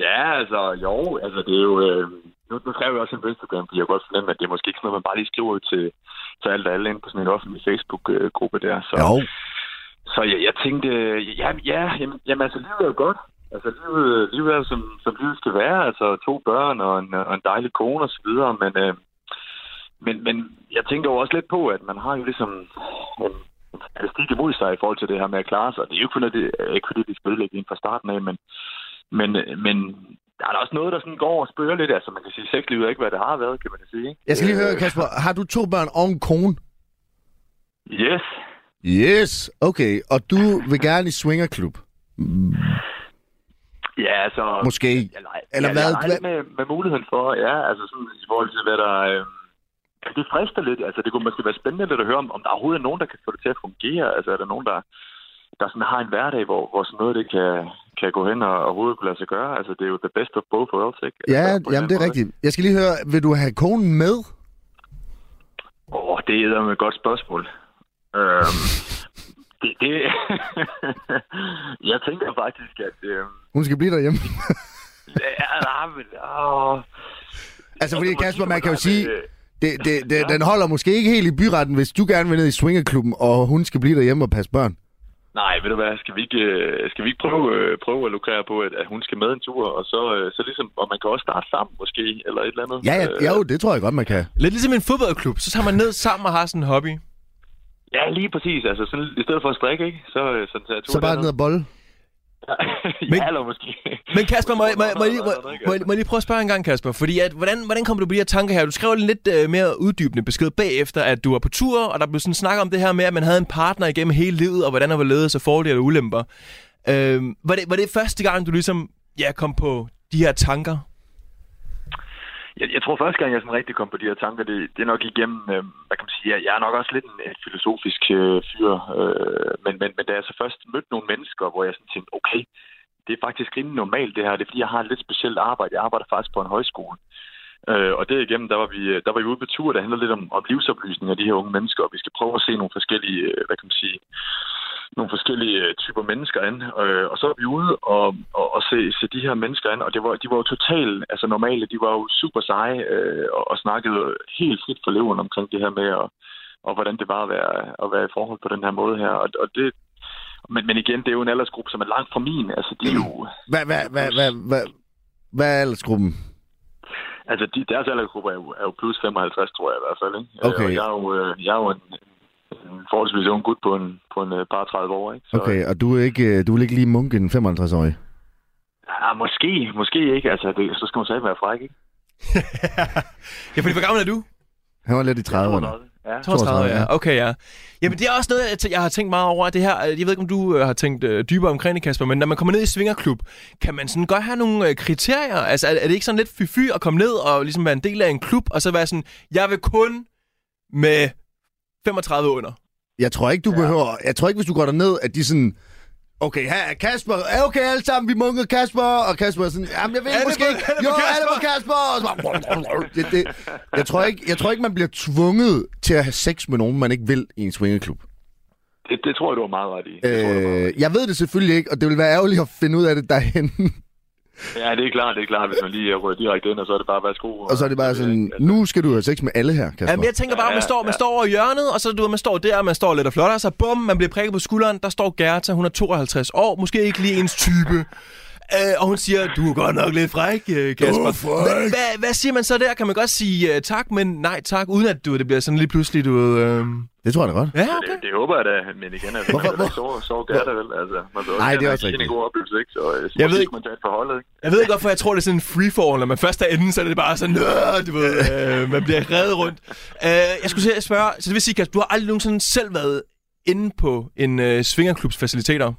Speaker 5: ja, altså, jo, altså, det er jo... Øh, nu, nu skrev jeg også en på Instagram, fordi jeg kunne godt fornemme, at det er måske ikke sådan noget, man bare lige skriver ud til, til alt og alle ind på sådan en offentlig Facebook-gruppe der. Så, så jeg, jeg tænkte, øh, ja, ja jamen, jamen, altså, livet er jo godt. Altså, livet, livet er jo, som, som livet skal være. Altså, to børn og en, og en dejlig kone og så videre, men... Øh, men, men jeg tænker jo også lidt på, at man har jo ligesom en en statistik imod sig i forhold til det her med at klare sig. Det er jo ikke, fordi, det, ikke fordi, de skal ødelægge en fra starten af, men, men, men der er da også noget, der sådan går og spørger lidt. Altså, man kan sige, sexlivet er ikke, hvad det har været, kan man da sige. Ikke?
Speaker 3: Jeg skal lige
Speaker 5: Øh,
Speaker 3: høre, Kasper, har du to børn og en kone?
Speaker 5: Yes.
Speaker 3: Yes. Okay, og du vil gerne i swingerklub?
Speaker 5: Ja, altså...
Speaker 3: Måske.
Speaker 5: Jeg leger,
Speaker 3: Eller
Speaker 5: Eller jeg,
Speaker 3: hvad-
Speaker 5: hvad? Jeg leger lidt
Speaker 3: hvad-
Speaker 5: med, med muligheden for, ja, altså sådan i forhold til, hvad der... Øh, det frister lidt. Altså, det kunne måske være spændende lidt at høre, om, om der overhovedet er nogen, der kan få det til at fungere. Altså, er der nogen, der, der sådan har en hverdag, hvor, hvor sådan noget det kan, kan gå hen og overhovedet kunne lade sig gøre. Altså, det er jo the best of both worlds, ikke? Altså, på en
Speaker 3: Ja,
Speaker 5: eller
Speaker 3: jamen
Speaker 5: anden
Speaker 3: det er
Speaker 5: måde.
Speaker 3: rigtigt. Jeg skal lige høre, vil du have konen med?
Speaker 5: Åh, oh, det er et godt spørgsmål. Øhm, det, det... jeg tænker faktisk, at... Øh,
Speaker 3: Hun skal blive derhjemme.
Speaker 5: ja, nej, men, åh.
Speaker 3: Altså, fordi
Speaker 5: Altså,
Speaker 3: Kasper,
Speaker 5: måske
Speaker 3: man kan jo
Speaker 5: kunne der
Speaker 3: sige,
Speaker 5: være
Speaker 3: det, det, det, den holder måske ikke helt i byretten, hvis du gerne vil ned i swingerklubben, og hun skal blive derhjemme og passe børn.
Speaker 5: Nej, ved du hvad, skal vi ikke, øh, skal vi ikke prøve, øh, prøve at lukrere på, at, at hun skal med en tur, og så, øh, så ligesom, og man kan også starte sammen måske, eller et eller andet.
Speaker 3: Ja,
Speaker 5: Øh,
Speaker 3: ja, jo, det tror jeg godt, man kan.
Speaker 4: Lidt ligesom en fodboldklub, så tager man ned sammen og har sådan en hobby.
Speaker 5: ja, lige præcis. Altså, sådan, i stedet for at strikke, ikke? Så, øh, sådan, så,
Speaker 3: Så bare ned og bolle.
Speaker 5: Men...
Speaker 4: Men-
Speaker 5: Ja, eller måske.
Speaker 4: Men Kasper, må, jeg- må, jeg- må, jeg lige- må, må, jeg- må jeg lige prøve at spørge en gang, Kasper? Fordi at, hvordan, hvordan kom du på de her tanker her? Du skrev en lidt øh, mere uddybende besked bagefter, at du var på tur, og der blev sådan snak om det her med, at man havde en partner igennem hele livet, og hvordan der var ledet af fordele og ulemper. Øh, var, det, var det første gang, du ligesom ja, kom på de her tanker?
Speaker 5: Jeg, jeg tror første gang, jeg sådan rigtig kom på de her tanker, det, det er nok igennem, øh, hvad kan man sige, jeg, jeg er nok også lidt en, en filosofisk øh, fyr, øh, men, men, men da jeg så først mødte nogle mennesker, hvor jeg sådan tænkte, okay, det er faktisk rimelig normalt det her, det er fordi, jeg har et lidt specielt arbejde, jeg arbejder faktisk på en højskole. Øh, og derigennem, der var, vi, øh, der var vi ude på tur, der handler lidt om, om livsoplysning af de her unge mennesker, og vi skal prøve at se nogle forskellige, øh, hvad kan man sige, nogle forskellige øh, typer mennesker an, øh, og så var vi ude og, og, og se, se de her mennesker an, og det var, de var jo totalt altså normale, de var jo super seje, øh, og, og snakkede helt frit for leveren omkring det her med, og, og hvordan det var at være, at være i forhold på den her måde her, og, og det, men, men igen, det er jo en aldersgruppe, som er langt fra min, altså de er jo,
Speaker 3: Hvad, hvad, hvad, hvad, hvad, hvad er aldersgruppen?
Speaker 5: Altså, de, deres aldersgruppe er jo, er jo plus 55, tror jeg i hvert fald. Ikke? Øh,
Speaker 3: Okay.
Speaker 5: Og jeg er jo, øh, jeg er jo en, en forholdsvis ung gut på en, på en øh, par 30 år. Ikke? Så,
Speaker 3: Okay, og du, er ikke, øh, du vil ikke lige munke en 55-årig?
Speaker 5: Ja, måske, måske ikke. Altså, det, så skal man selv være fræk, ikke?
Speaker 4: Ja, fordi hvor gammel er du?
Speaker 3: Han var lidt i 30'erne.
Speaker 5: 32. Ja.
Speaker 3: 32, ja.
Speaker 4: Okay, ja. Jamen, det er også noget, jeg, tæ- jeg har tænkt meget over. Det her, jeg ved ikke, om du øh, har tænkt øh, dybere omkring det, Kasper, men når man kommer ned i Svingerklub, kan man sådan godt have nogle øh, kriterier? Altså, er, er det ikke sådan lidt fy-fy at komme ned og ligesom være en del af en klub, og så være sådan, jeg vil kun med 35 under?
Speaker 3: Jeg tror ikke, du ja. behøver... Jeg tror ikke, hvis du går derned, at de sådan... Okay, her er Kasper. Ja, Okay, alle sammen, vi munker Kasper. Og Kasper er sådan... Jamen, jeg ved
Speaker 4: Alle
Speaker 3: måske
Speaker 4: mod-
Speaker 3: ikke...
Speaker 4: alle mod
Speaker 3: Jo,
Speaker 4: Kasper."
Speaker 3: alle på Kasper. Og så bare, det, det. Jeg, tror ikke, jeg tror ikke, man bliver tvunget til at have sex med nogen, man ikke vil i en swingerklub.
Speaker 5: Det, det tror jeg, du har meget ret i. Det tror jeg, du har meget ret i.
Speaker 3: Øh, jeg ved det selvfølgelig ikke, og det vil være ærgerligt at finde ud af det derhen.
Speaker 5: Ja, det er klart, det er klart. Hvis man lige rører direkte ind, og så er det bare, værsgo.
Speaker 3: Og så er det bare sådan...
Speaker 5: Altså,
Speaker 3: Nu skal du have sex med alle her, Kasper.
Speaker 4: Jamen, jeg tænker bare, man
Speaker 5: Ja,
Speaker 4: står, man
Speaker 5: ja.
Speaker 4: står over i hjørnet, og så du, ved, man står der, man står lidt og flotter sig. Bum, man bliver prikket på skulderen. Der står Gerta, hun er 52 år, måske ikke lige ens type. Øh, og hun siger, du er godt nok lidt fræk, øh, Kasper.
Speaker 3: fræk.
Speaker 4: Hvad, hvad siger man så der? Kan man godt sige øh, tak, men nej tak, uden at du, det bliver sådan lige pludselig, du ved... Øh...
Speaker 3: Det tror jeg da godt.
Speaker 4: Ja,
Speaker 5: Så
Speaker 4: okay.
Speaker 5: Det, det håber jeg da, men igen, altså,
Speaker 3: Hvorfor-
Speaker 5: man kan da ikke sove, sove gør der vel. Altså, man vil
Speaker 3: Nej,
Speaker 5: gerne
Speaker 3: det er
Speaker 5: have
Speaker 3: også
Speaker 5: en-
Speaker 3: rigtigt.
Speaker 5: En god oplevelse, ikke? Så jeg,
Speaker 4: Jeg
Speaker 5: jeg
Speaker 4: ved ikke-
Speaker 5: ved ikke. Man tage et forholdet, ikke?
Speaker 4: Jeg ved ikke, hvorfor jeg tror, det er sådan en free-fall. Når man først er inde, så er det bare sådan, "Nå," du ved, øh, man bliver reddet rundt. Øh, jeg skulle til at spørge, så det vil sige, Kasper, du har aldrig nogensinde selv været inde på en øh, svingerklubs faciliteter?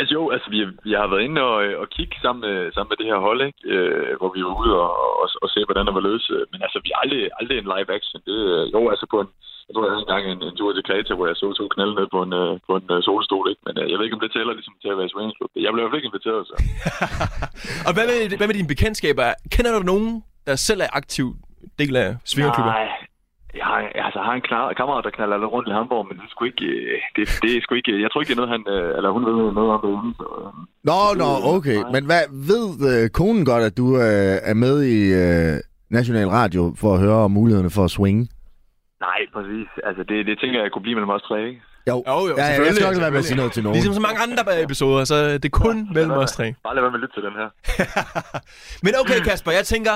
Speaker 5: Altså jo, altså vi, vi har været inde og, øh, og kigge sammen med, sammen med det her hold, ikke? Øh, hvor vi var ude og, og, og se, hvordan der var løs. Men altså, vi har aldrig, aldrig en live action. Det, øh, jo, altså på en, jeg tror, jeg havde engang en, en tur til Kreta, hvor jeg så to knalde ned på en, øh, på en øh, solstol, ikke? Men øh, jeg ved ikke, om det tæller ligesom til at være i swingersklub. Jeg blev i hvert fald ikke inviteret, så.
Speaker 4: Og hvad med, hvad med dine bekendtskaber? Kender du nogen, der selv er aktiv del af svingerklubber?
Speaker 5: Nej, jeg har, altså, jeg har en klar, kammerat, der knaller lidt rundt i Hamburg, men det er sgu ikke... øh, Det, det er sgu ikke jeg tror ikke, det er noget, han, øh, eller hun ved noget om det. Så, øh,
Speaker 3: Nå, nå, okay. Men hvad, ved øh, konen godt, at du øh, er med i øh, National Radio for at høre om mulighederne for at swinge?
Speaker 5: nej, præcis. Altså, det, det tænker jeg kunne blive mellem os tre, ikke?
Speaker 3: Jo, ja,
Speaker 4: Jo, jo,
Speaker 3: ja, jeg
Speaker 4: selvfølgelig,
Speaker 3: skal nok lade være med at sige
Speaker 4: selvfølgelig.
Speaker 3: noget til nogen.
Speaker 4: Ligesom så mange andre episoder, så det er kun mellem os tre.
Speaker 5: Bare lad være med at lytte til den her.
Speaker 4: Men okay, Kasper, jeg tænker,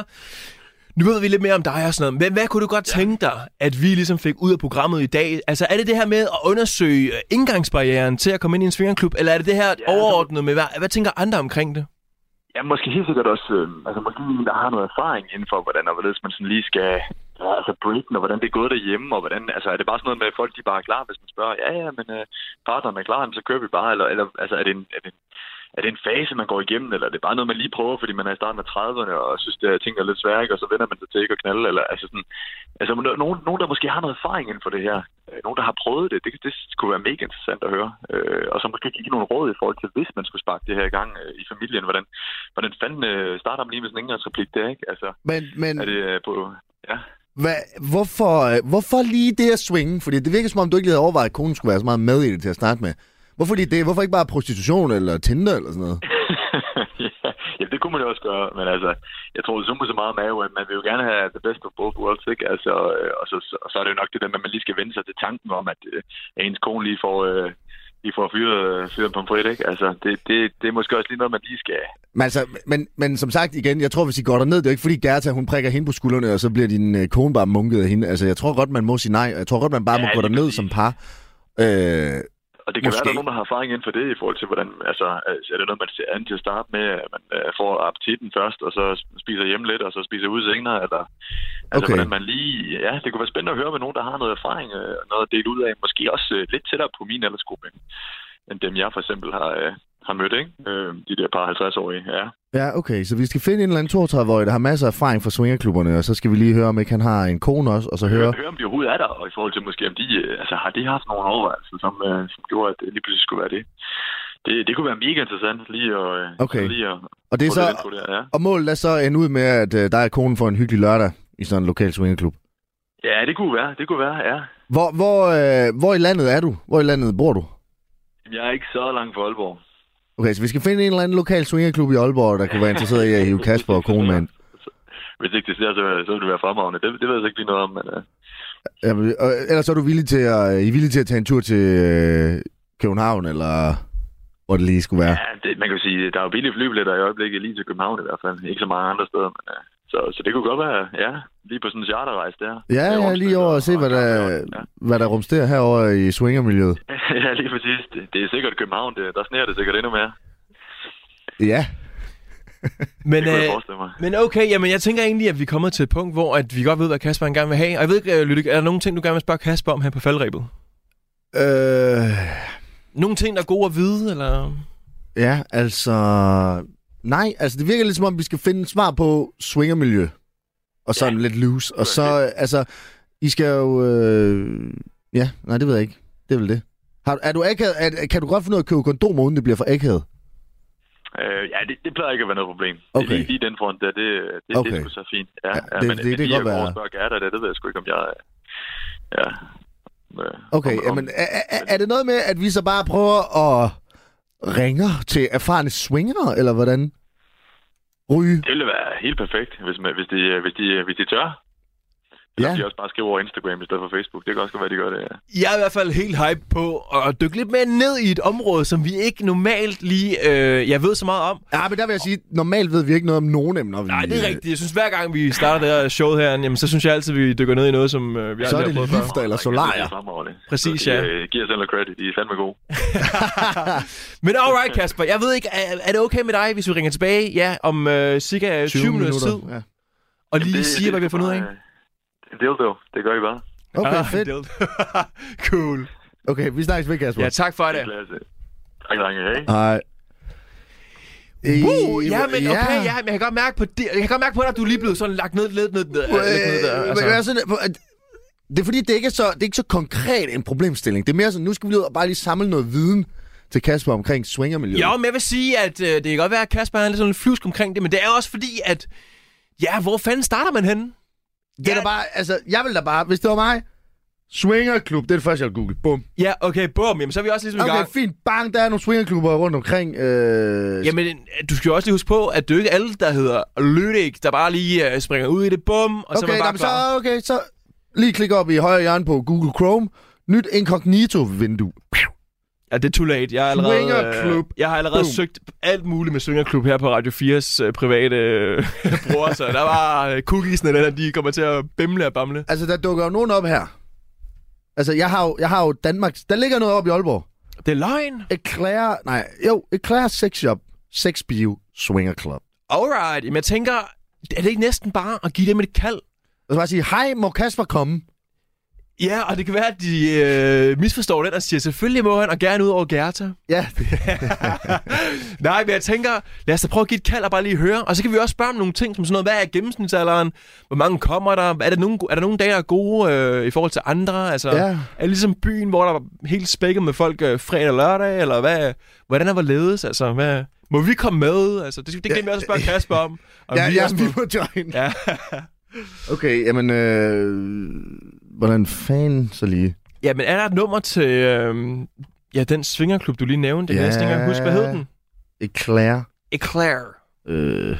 Speaker 4: nu ved vi lidt mere om dig og sådan noget, men hvad kunne du godt tænke dig, at vi ligesom fik ud af programmet i dag? Altså, er det det her med at undersøge øh, indgangsbarrieren til at komme ind i en svingerklub, eller er det det her
Speaker 5: det-
Speaker 4: overordnet med, hvad, hvad tænker andre omkring det?
Speaker 5: Ja, måske helt sikkert også, øh, altså måske en, der har noget erfaring inden for, hvordan og hvorledes man sådan lige skal ja, altså break og hvordan det er gået derhjemme, og hvordan, altså er det bare sådan noget med, at folk de bare er klar, hvis man spørger, ja, ja, men øh, partneren er klar, jamen, så kører vi bare, eller, eller altså er det, en, er, det en, er det en fase, man går igennem, eller er det bare noget, man lige prøver, fordi man er i starten af 30'erne, og synes, det er ting der er lidt svære, ikke? og så vender man sig til ikke at knalde, eller altså sådan, altså no- nogen, nogen, der måske har noget erfaring inden for det her, øh, nogen, der har prøvet det, det, det kunne være mega interessant at høre, øh, og så måske give nogle råd i forhold til, hvis man skulle sparke det her i gang øh, i familien, hvordan, hvordan fanden øh, starter man lige med sådan en indgangsreplik der, ikke? Altså,
Speaker 3: Men, men
Speaker 5: er det øh, på... Ja.
Speaker 3: hvad, hvorfor, øh, hvorfor lige det at swinge? Fordi det virker som om, du ikke lige havde overvejet, at konen skulle være så meget med i det til at starte med. Hvorfor lige det? Hvorfor ikke bare prostitution eller Tinder eller sådan noget?
Speaker 5: ja, jamen, det kunne man jo også gøre, men altså, jeg tror, det summer så meget mave, at man vil jo gerne have the best of both worlds, ikke? Altså, øh, og, så, så, og så er det jo nok det der med, at man lige skal vende sig til tanken om, at øh, ens kone lige får, øh, lige får fyret, øh, fyret en pomfrit, ikke? Altså, det, det, det er måske også lige noget, man lige skal...
Speaker 3: Men, altså, men, men som sagt igen, jeg tror, hvis I går derned, det er jo ikke fordi Gerta, hun prikker hende på skuldrene, og så bliver din øh, kone bare munket af hende. Altså, jeg tror godt, man må sige nej, og jeg tror godt, man bare må
Speaker 5: Ja,
Speaker 3: gå
Speaker 5: lige
Speaker 3: derned
Speaker 5: præcis.
Speaker 3: som par. Øh,
Speaker 5: Og det
Speaker 3: Måske.
Speaker 5: kan Måske. være, at der er nogen, der har erfaring inden for det, i forhold til, hvordan, altså, altså, er det noget, man ser an til at starte med, at man øh, får appetitten først, og så spiser hjemme lidt, og så spiser ud senere, eller altså,
Speaker 3: Okay.
Speaker 5: hvordan man lige, ja, det kunne være spændende at høre med nogen, der har noget erfaring, øh, og noget at dele ud af, måske også øh, lidt tættere på min aldersgruppe, end- end dem, jeg for eksempel har, øh, har mødt, ikke? Øh, de der par 50-årige, ja.
Speaker 3: Ja, okay. Så vi skal finde en eller anden 32-årig, der har masser af erfaring fra swingerklubberne, og så skal vi lige høre, om ikke han har en kone også, og så høre...
Speaker 5: Hør, hør, om de overhovedet er der, og i forhold til måske, om de, øh, altså, har de haft nogle overvejelser, som, øh, som gjorde, at det lige pludselig skulle være det. Det, det kunne være mega interessant lige at, øh,
Speaker 3: Okay.
Speaker 5: lige at
Speaker 3: Og det er
Speaker 5: få lidt
Speaker 3: så...
Speaker 5: info der, ja.
Speaker 3: Og målet er så ende ud med, at øh, der er konen for en hyggelig lørdag i sådan en lokal swingerklub.
Speaker 5: Ja, det kunne være. Det kunne være, ja.
Speaker 3: Hvor, hvor, øh, hvor i landet er du? Hvor i landet bor du?
Speaker 5: Jeg er ikke så langt fra Aalborg.
Speaker 3: Okay, så vi skal finde en eller anden lokal swingerklub i Aalborg, der kunne være interesseret i at hive Kasper og konen med ind.
Speaker 5: Hvis ikke det ser, så, så vil det være fremragende. Det, det ved jeg så ikke lige noget om, men uh,
Speaker 3: Ja, men, og ellers er du villig til at, I er villig til at tage en tur til øh, København, eller hvor det lige skulle være.
Speaker 5: ja, det, man kan jo sige, der er jo billige flybilletter i øjeblikket lige til København i hvert fald. Ikke så mange andre steder, men uh, så, så det kunne godt være, ja, lige på sådan en charterrejse der.
Speaker 3: Ja,
Speaker 5: Med
Speaker 3: ja, lige
Speaker 5: overnatning
Speaker 3: over og se, hvad der,
Speaker 5: Ja.
Speaker 3: hvad der rumsterer herover i swingermiljøet.
Speaker 5: ja, lige præcis. Det, det er sikkert København. Det, der sneer det sikkert endnu mere.
Speaker 3: Ja,
Speaker 4: Men,
Speaker 5: Det kunne
Speaker 4: øh,
Speaker 5: jeg forestille mig.
Speaker 4: men okay, jamen, jeg tænker egentlig, at vi er kommet til et punkt, hvor at vi godt ved, hvad Kasper engang vil have. Og jeg ved ikke, øh, Lydik, er der nogle ting, du gerne vil spørge Kasper om her på faldrebet?
Speaker 3: Øh,
Speaker 4: Nogle ting, der er gode at vide, eller...
Speaker 3: ja, altså... Nej, altså det virker lidt som om, vi skal finde et svar på swingermiljø. Og sådan ja. lidt loose. Og så, øh, altså, I skal jo... Øh, ja, nej, det ved jeg ikke. Det er vel det. Har, er du akavet, er, kan du godt finde ud af at købe kondomer, uden det bliver for akavet?
Speaker 5: Øh, ja, det, det plejer ikke at være noget problem.
Speaker 3: Okay.
Speaker 5: Det, lige, lige den front der, det, det, okay. det
Speaker 3: Okay.
Speaker 5: er sgu så fint. Ja,
Speaker 3: Ja,
Speaker 5: ja,
Speaker 3: det- det-
Speaker 5: men, men
Speaker 3: det kan
Speaker 5: lige
Speaker 3: godt
Speaker 5: at gå
Speaker 3: være.
Speaker 5: og spørge Gerda, det, det ved jeg sgu ikke, om jeg... Ja. øh,
Speaker 3: Okay,
Speaker 5: om- om-
Speaker 3: jamen, er, er, er det noget med, at vi så bare prøver at ringe til erfarne swingere, eller hvordan? Ryge?
Speaker 5: Det ville være helt perfekt, hvis, man, hvis, de, hvis, de, hvis de tør. Eller
Speaker 3: Ja.
Speaker 5: ja. de også bare skriver over Instagram i stedet for Facebook. Det kan også godt være, de gør det. Ja.
Speaker 4: Jeg er i hvert fald helt hype på at dykke lidt mere ned i et område, som vi ikke normalt lige, øh, jeg ved så meget om.
Speaker 3: Ja, men der vil jeg sige, normalt ved vi ikke noget om nogen emner. Vi,
Speaker 4: Nej, det er rigtigt. Jeg synes, hver gang vi starter det her show her, jamen, så synes jeg altid, vi dykker ned i noget, som øh, vi
Speaker 3: Så er
Speaker 4: aldrig har
Speaker 3: det
Speaker 4: prøvet før.
Speaker 3: lifter eller solarier.
Speaker 4: Præcis,
Speaker 5: ja.
Speaker 4: ja.
Speaker 5: Øh, giver selv noget credit. De er fandme gode.
Speaker 4: Men alright, Kasper. Jeg ved ikke, er, er det okay med dig, hvis vi ringer tilbage ja, om øh, cirka 20, 20 minutters tid,
Speaker 3: Ja.
Speaker 4: og lige siger, hvad vi har fundet ud af?
Speaker 5: En dildo. øh, Det gør I bare.
Speaker 3: Okay,
Speaker 4: Ah,
Speaker 3: fedt.
Speaker 4: det- cool.
Speaker 3: Okay, vi snakkes ved, Kasper.
Speaker 4: Ja, tak for
Speaker 5: Det
Speaker 4: det.
Speaker 5: er klasse. Tak, drenge. Hej.
Speaker 3: Hej.
Speaker 4: Uh, ja, men
Speaker 3: Øh,
Speaker 4: okay, ja, men jeg kan godt mærke på det. Jeg kan godt mærke på dig, at du er lige blevet sådan lagt ned lidt ned, ned, øh, lidt ned der.
Speaker 3: Øh, men jeg er
Speaker 4: Altså.
Speaker 3: sådan, at- at- det er fordi, det ikke er, så, det er ikke så konkret en problemstilling. Det er mere sådan, nu skal vi ud og bare lige samle noget viden til Kasper omkring swingermiljøet.
Speaker 4: Jo, men jeg vil sige, at øh, det kan godt være, at Kasper er lidt sådan flusk omkring det, men det er jo også fordi, at... Ja, hvor fanden starter man henne?
Speaker 3: det er da bare, altså, jeg vil da bare, hvis det var mig, swingerklub, det er det første, jeg vil google. Bum.
Speaker 4: Ja, okay, bum. Jamen, så er vi også ligesom i
Speaker 3: Okay,
Speaker 4: gang.
Speaker 3: fint. Bang, der er nogle swingerklubber rundt omkring. Øh,
Speaker 4: Jamen, du skal jo også lige huske på, at det er jo ikke alle, der hedder Lødik, der bare lige øh, springer ud i det, bum, og så er
Speaker 3: okay,
Speaker 4: man bare
Speaker 3: jamen, så,
Speaker 4: klar.
Speaker 3: okay, så lige klik op i højre hjørne på Google Chrome. Nyt incognito-vindue.
Speaker 4: Ja, det er too late. Jeg, er allerede, øh,
Speaker 3: Swingerklub.
Speaker 4: jeg har allerede
Speaker 3: Boom.
Speaker 4: Boom. søgt alt muligt med Svingerklub her på Radio 4's øh, private øh, bruger, så der var øh, cookiesene, der, de kommer til at bimle og bamle.
Speaker 3: Altså, der dukker jo nogen op her. Altså, jeg har jo, jeg har jo Danmarks... Der ligger noget op i Aalborg.
Speaker 4: Det er løgn.
Speaker 3: Eclair, nej, jo, Eclair Sex Shop, Sex Bio, Swinger Club.
Speaker 4: Alright, men jeg tænker, er det ikke næsten bare at give dem et kald?
Speaker 3: Og så bare sige, hej, må Kasper komme?
Speaker 4: Ja, og det kan være, at de øh, misforstår den og siger, selvfølgelig må han, og gerne ud over Gerta.
Speaker 3: Ja,
Speaker 4: Nej, men jeg tænker, lad os da prøve at give et kald og bare lige høre. Og så kan vi også spørge om nogle ting, som sådan noget, hvad er gennemsnitsalderen? Hvor mange kommer der? Er der nogle, er der nogle dage, der er gode øh, i forhold til andre? Altså,
Speaker 3: Ja.
Speaker 4: Er det ligesom byen, hvor der er helt spækket med folk øh, fredag og lørdag? Eller hvad, hvordan er hvorledes? Altså, hvad, må vi komme med? Altså, det, det glemmer jeg også at spørge Kasper om. Og
Speaker 3: ja,
Speaker 4: vi
Speaker 3: ja
Speaker 4: også
Speaker 3: vi
Speaker 4: må-
Speaker 3: må join.
Speaker 4: Ja.
Speaker 3: Okay, jamen, øh, hvordan fanden så lige?
Speaker 4: ja, men er der et nummer til øh, ja, den svingerklub, du lige nævnte? Jeg kan
Speaker 3: Ja.
Speaker 4: næsten ikke engang huske, hvad hed den?
Speaker 3: Eclair.
Speaker 4: Eclair.
Speaker 3: Øh,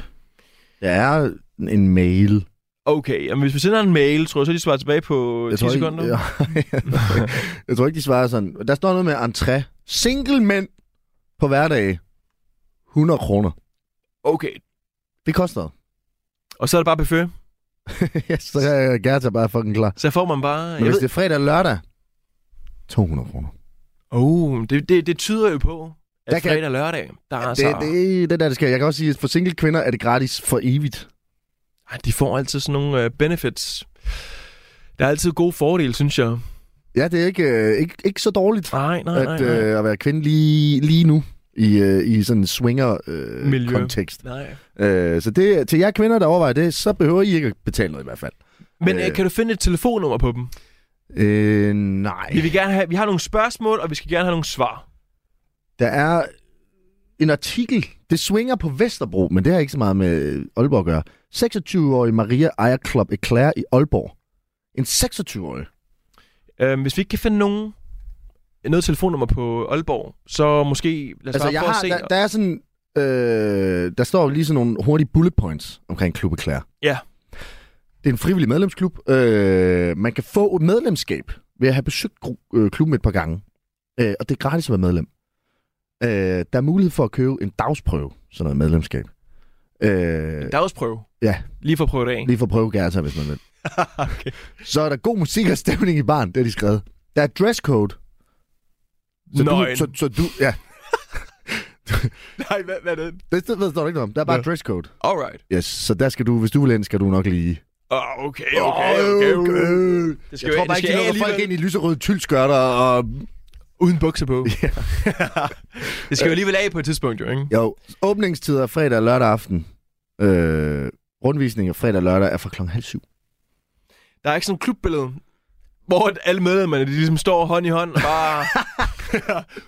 Speaker 3: der er en mail.
Speaker 4: Okay, jamen hvis vi sender en mail, tror jeg, så de svarer tilbage på 10
Speaker 3: ikke,
Speaker 4: sekunder.
Speaker 3: jeg, jeg tror ikke, de svarer sådan. Der står noget med entré. Single mænd på hverdag. 100 kroner.
Speaker 4: Okay,
Speaker 3: Det koster.
Speaker 4: Og så er det bare buffet.
Speaker 3: ja, så er Gerta bare fucking klar.
Speaker 4: Så får man bare...
Speaker 3: Men
Speaker 4: Jeg
Speaker 3: hvis det
Speaker 4: ved,
Speaker 3: er fredag og lørdag, 200 kroner.
Speaker 4: oh, det, det, det tyder jo på, at
Speaker 3: Der
Speaker 4: der
Speaker 3: kan-
Speaker 4: fredag og lørdag, der er
Speaker 3: Det,
Speaker 4: så... Det...
Speaker 3: det, det der, det skal. Jeg kan også sige, at for single kvinder er det gratis for evigt.
Speaker 4: Ej, de får altid sådan nogle øh, benefits. Der er altid gode fordele, synes jeg.
Speaker 3: Ja, det er ikke, øh, ikke, ikke så dårligt
Speaker 4: Nej, nej, nej.
Speaker 3: at,
Speaker 4: nej.
Speaker 3: øh, at være kvinde lige, lige nu i, øh, i sådan en swinger-kontekst. Øh,
Speaker 4: Miljø.
Speaker 3: kontekst.
Speaker 4: nej.
Speaker 3: øh, så det, til jer kvinder, der overvejer det, så behøver I ikke at betale noget i hvert fald.
Speaker 4: Men
Speaker 3: Øh.
Speaker 4: øh, kan du finde et telefonnummer på dem?
Speaker 3: Øh, nej.
Speaker 4: Vi, vil gerne have, vi har nogle spørgsmål, og vi skal gerne have nogle svar.
Speaker 3: Der er en artikel. Det swinger på Vesterbro, men det har ikke så meget med Aalborg at gøre. 26-årig Maria ejer Club Eclair i Aalborg. En 26-årig.
Speaker 4: Øhm, hvis vi ikke kan finde nogen, noget telefonnummer på Aalborg, så måske... Lad os
Speaker 3: Altså,
Speaker 4: altså, bare
Speaker 3: jeg
Speaker 4: prøve
Speaker 3: har,
Speaker 4: at se...
Speaker 3: der, der er sådan... Øh, der står jo lige sådan nogle hurtige bullet points omkring Klub Eclair.
Speaker 4: Ja.
Speaker 3: Det er en frivillig medlemsklub. Øh, man kan få et medlemskab ved at have besøgt gru- øh, klubben et par gange. Øh, og det er gratis at være medlem. Øh, der er mulighed for at købe en dagsprøve, sådan noget medlemskab. Øh,
Speaker 4: Dagsprøve.
Speaker 3: ja,
Speaker 4: Lige for at prøve det af.
Speaker 3: Lige for at prøve Gerta, hvis man vil. Så er der god musik og stemning i barn, det har de skrevet. Der er dresscode. Så du,
Speaker 4: Nøgen.
Speaker 3: så, så du, ja,
Speaker 4: Nej, hvad, hvad er det?
Speaker 3: det, det ved der ikke noget om. Der er bare
Speaker 4: Ja.
Speaker 3: dresscode.
Speaker 4: Alright.
Speaker 3: Yes, så der skal du, hvis du vil ind, skal du nok lige...
Speaker 4: Oh, okay, okay, okay, okay. Det skal
Speaker 3: jeg
Speaker 4: jo-
Speaker 3: tror
Speaker 4: det
Speaker 3: bare
Speaker 4: skal
Speaker 3: ikke, de
Speaker 4: af
Speaker 3: lukker folk
Speaker 4: alligevel.
Speaker 3: ind i lyserøde tyldskørter og...
Speaker 4: Uden bukser på. det skal jo alligevel af på et tidspunkt, jo, ikke?
Speaker 3: Jo, åbningstider er fredag og lørdag aften. Øh, rundvisninger fredag og lørdag er fra klokken halv syv.
Speaker 4: Der er ikke sådan et klubbillede, hvor at alle medlemmerne de ligesom står hånd i hånd og bare...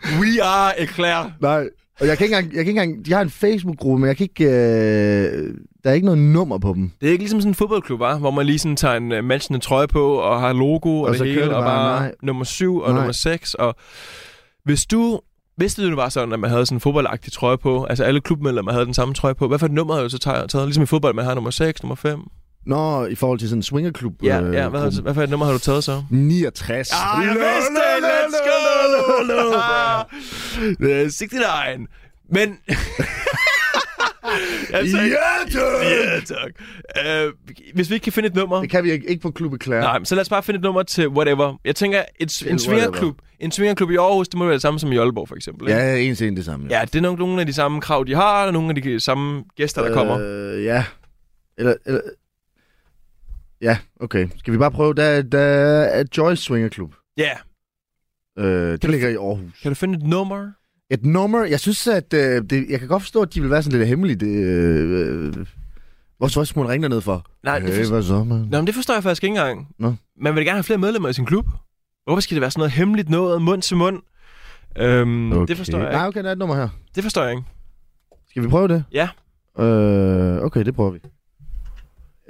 Speaker 4: We are Eclair.
Speaker 3: Nej. Og jeg kan ikke engang... Jeg kan ikke engang de har en Facebook-gruppe, men jeg kan ikke... Øh, der er ikke noget nummer på dem.
Speaker 4: Det er ikke ligesom sådan en fodboldklub, var, hvor man lige sådan tager en uh, matchende trøje på og har logo og,
Speaker 3: Og
Speaker 4: og det
Speaker 3: så kører
Speaker 4: hele,
Speaker 3: det
Speaker 4: og
Speaker 3: bare,
Speaker 4: bare
Speaker 3: nej.
Speaker 4: nummer 7 og
Speaker 3: Nej.
Speaker 4: nummer 6. Og hvis du... Vidste du, det var sådan, at man havde sådan en fodboldagtig trøje på? Altså alle klubmedlemmer havde den samme trøje på. Hvad for et nummer havde du så taget? Ligesom i fodbold, man har nummer 6, nummer 5.
Speaker 3: Nå, i forhold til sådan en swingerklub.
Speaker 4: Ja,
Speaker 3: øh,
Speaker 4: ja. Hvad,
Speaker 3: gruppen.
Speaker 4: har- hvad for et nummer har du taget så?
Speaker 3: 69.
Speaker 4: Ah, jeg
Speaker 3: Lo,
Speaker 4: vidste
Speaker 3: lo,
Speaker 4: det!
Speaker 3: lo,
Speaker 4: Let's
Speaker 3: lo, lo, lo, lo.
Speaker 4: go! Det er 69. Men... jeg tænkte,
Speaker 3: Ja, tak!
Speaker 4: ja, tak. Øh, hvis vi ikke kan finde et nummer...
Speaker 3: Det kan vi ikke, ikke på Klub Eclair.
Speaker 4: Nej, men så lad os bare finde et nummer til whatever. Jeg tænker, et, en,
Speaker 3: whatever.
Speaker 4: svingerklub, en svingerklub i Aarhus, det må være det samme som i Aalborg, for eksempel. ikke?
Speaker 3: Ja, en til en det samme.
Speaker 4: Ja, det er nok nogle af de samme krav, de har, og nogle af de samme gæster, der kommer.
Speaker 3: Øh, ja. Eller, eller... Ja, okay. Skal vi bare prøve? Der, der er Joyce Swinger Club.
Speaker 4: Ja,
Speaker 3: Øh, det ligger i Aarhus.
Speaker 4: kan du finde et nummer?
Speaker 3: Et nummer, jeg synes, at øh, det, jeg kan godt forstå, at de vil være sådan lidt hemmelige. Det, øh, øh, hvor så skulle man ringe derned for?
Speaker 4: Nej, det
Speaker 3: hey,
Speaker 4: forstår-
Speaker 3: hvad så, man?
Speaker 4: Nå, men det forstår jeg faktisk ikke engang.
Speaker 3: Nå.
Speaker 4: Man vil gerne have flere medlemmer i sin klub. Hvorfor skal det være sådan noget hemmeligt noget, mund til mund? Øhm, okay. Det forstår jeg ikke.
Speaker 3: Nej, okay, der er et nummer her.
Speaker 4: Det forstår jeg ikke.
Speaker 3: Skal vi prøve det?
Speaker 4: Ja.
Speaker 3: Øh, okay, det prøver vi.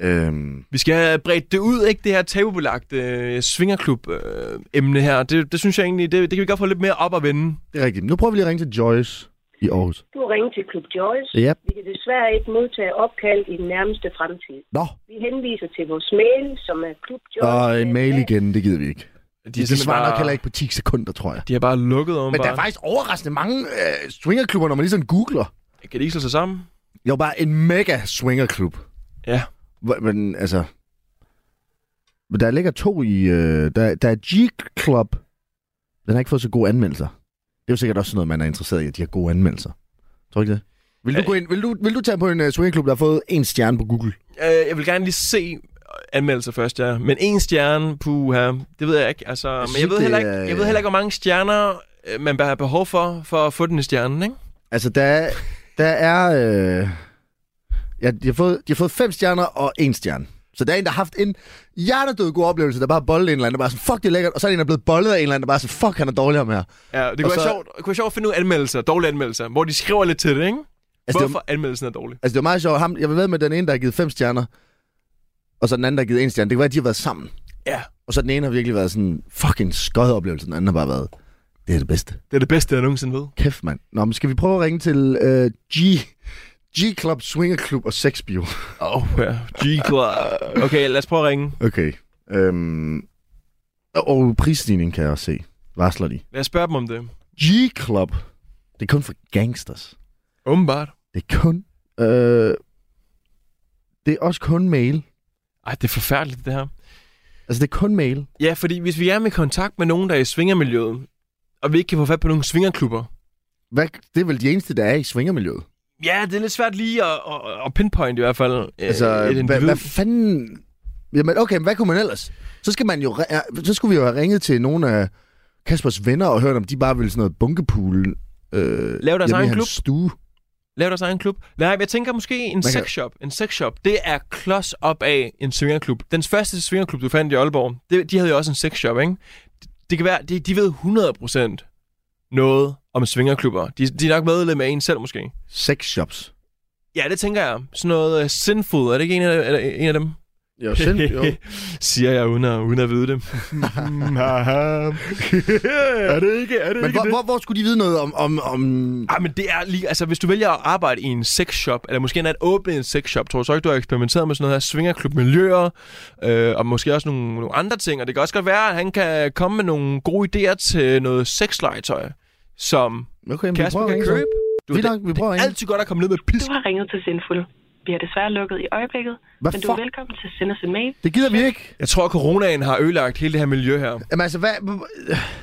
Speaker 3: Øhm,
Speaker 4: Vi skal have bredt det ud, ikke? Det her tabubelagte øh, svingerklub-emne her. Det, det synes jeg egentlig, det, det kan vi godt få lidt mere op at vende.
Speaker 3: det er rigtigt. Nu prøver vi lige at ringe til Joyce i Aarhus.
Speaker 6: Du har ringet til Klub Joyce.
Speaker 3: Ja.
Speaker 6: Vi kan desværre ikke modtage opkald i den nærmeste fremtid.
Speaker 3: Nå,
Speaker 6: Vi henviser til vores mail, som er klubjoyce.
Speaker 3: og en mail igen, det gider vi ikke. De, de
Speaker 4: simpelthen
Speaker 3: svarer
Speaker 4: bare-
Speaker 3: nok heller ikke på 10 sekunder, tror jeg.
Speaker 4: De har bare lukket om.
Speaker 3: Men der er faktisk overraskende mange øh, swingerklubber, når man lige sådan googler.
Speaker 4: Kan de ikke slå sig sammen?
Speaker 3: Jeg var bare en mega swingerklub.
Speaker 4: Ja.
Speaker 3: Hvor- Men altså... Men der ligger to i... Øh, der, der er G-Club. Den har ikke fået så gode anmeldelser. Det er jo sikkert også sådan noget, man er interesseret i, at de har gode anmeldelser. Tror du ikke det? Vil du,
Speaker 4: Øh.
Speaker 3: gå ind, vil du, vil du tage på en uh, swingerklub, der har fået en stjerne på Google?
Speaker 4: Øh, jeg vil gerne lige se anmeldelser først, ja. Men en stjerne, puha, det ved jeg ikke. Altså, jeg men
Speaker 3: synes,
Speaker 4: jeg ved, heller
Speaker 3: det
Speaker 4: ikke,
Speaker 3: er-
Speaker 4: jeg ved heller ikke, hvor mange stjerner øh, man bør have behov for, for at få den i stjernen, ikke?
Speaker 3: Altså, der, er- der er... Øh, ja, de, har fået, de har fået fem stjerner og en stjerne. Så der er en, der har haft en hjertedød god oplevelse, der bare har boldet en eller anden, der bare er sådan, fuck, det er lækkert. Og så er der en, der er blevet boldet af en eller anden, der bare er sådan, fuck, han er dårlig om her. Altså,
Speaker 4: Ja, det
Speaker 3: Og
Speaker 4: kunne, så...
Speaker 3: så-
Speaker 4: være sjovt, det kunne være sjovt at finde ud af anmeldelser, dårlige anmeldelser, hvor de skriver lidt til det, ikke? Altså,
Speaker 3: det er-
Speaker 4: Hvorfor anmeldelsen er dårlig.
Speaker 3: Altså, det var meget sjovt. Ham, jeg var ved med den ene, der har givet fem stjerner, og så den anden, der har givet en stjerne. Det kan være, at de har været sammen.
Speaker 4: Ja,
Speaker 3: Og så den ene har virkelig været sådan fucking skød oplevelse, den anden har bare været, det er det bedste.
Speaker 4: det er det bedste, jeg nogensinde ved.
Speaker 3: Kæft, mand. Nå, men skal vi prøve at ringe til øh, G... G-Club, Swinger Club og Sexbio.
Speaker 4: Åh, oh, ja. G-klar. Okay, lad os prøve at ringe.
Speaker 3: Okay. Øhm, og- og prisstigningen kan jeg også se. Varsler de.
Speaker 4: Lad os spørge dem om det.
Speaker 3: G-Club. Det er kun for gangsters.
Speaker 4: Åbenbart.
Speaker 3: Det er kun... Øh, det er også kun mail.
Speaker 4: Ej, det er forfærdeligt, det her.
Speaker 3: Altså, det er kun mail.
Speaker 4: Ja, fordi hvis vi er med kontakt med nogen, der er i svingermiljøet, og vi ikke kan få fat på nogle svingerklubber,
Speaker 3: Hvad, det er vel de eneste, der er i svingermiljøet.
Speaker 4: Ja, det er lidt svært lige at, at, at pinpoint i hvert fald. øh,
Speaker 3: Altså,
Speaker 4: et
Speaker 3: hvad,
Speaker 4: individ.
Speaker 3: hvad fanden... Jamen, okay, men hvad kunne man ellers? Så, skal man jo, re- ja, så skulle vi jo have ringet til nogle af Kaspers venner og hørt, om de bare ville sådan noget bunkepool. Øh,
Speaker 4: Lave deres
Speaker 3: hjemme i
Speaker 4: egen
Speaker 3: hans
Speaker 4: klub.
Speaker 3: Stue.
Speaker 4: Lav deres egen klub. Nej, men jeg tænker måske en
Speaker 3: kan-
Speaker 4: sexshop. En sexshop, det er klods op af en svingerklub. Den første svingerklub, du fandt i Aalborg, det, de havde jo også en sexshop, ikke? Det, det kan være, de, de ved 100% noget om svingerklubber. De, de er nok medlem af en selv måske.
Speaker 3: Sex shops.
Speaker 4: Ja, det tænker jeg. Sådan noget uh, sinful, er det ikke en af, er det en af dem?
Speaker 3: Jo, sind, jo.
Speaker 4: Siger jeg uden at, uden at vide det. er det ikke, er det
Speaker 3: Men hvor, hvor, hvor skulle de vide noget om... om, om...
Speaker 4: Ah, men det er lige... Altså, hvis du vælger at arbejde i en sexshop, eller måske endda at åbne en sexshop, tror du så ikke, du har eksperimenteret med sådan noget her svingerklubmiljøer, øh, og måske også nogle, nogle andre ting. Og det kan også godt være, at han kan komme med nogle gode idéer til noget sexlegetøj, som
Speaker 3: Ah, Okay, men
Speaker 4: Kasper kan købe. Du,
Speaker 3: Vi,
Speaker 4: det,
Speaker 3: nok, vi prøver
Speaker 4: det
Speaker 3: at
Speaker 4: er
Speaker 3: ringe.
Speaker 4: altid godt at komme ned med pisk.
Speaker 7: Du har ringet til Sindful. Vi har desværre lukket i øjeblikket,
Speaker 3: Hvad
Speaker 7: men du
Speaker 3: fuck?
Speaker 7: er velkommen til at sende os en mail.
Speaker 3: Det gider vi ikke.
Speaker 4: Jeg tror, at coronaen har ødelagt hele det her miljø her.
Speaker 3: Jamen altså, hvad...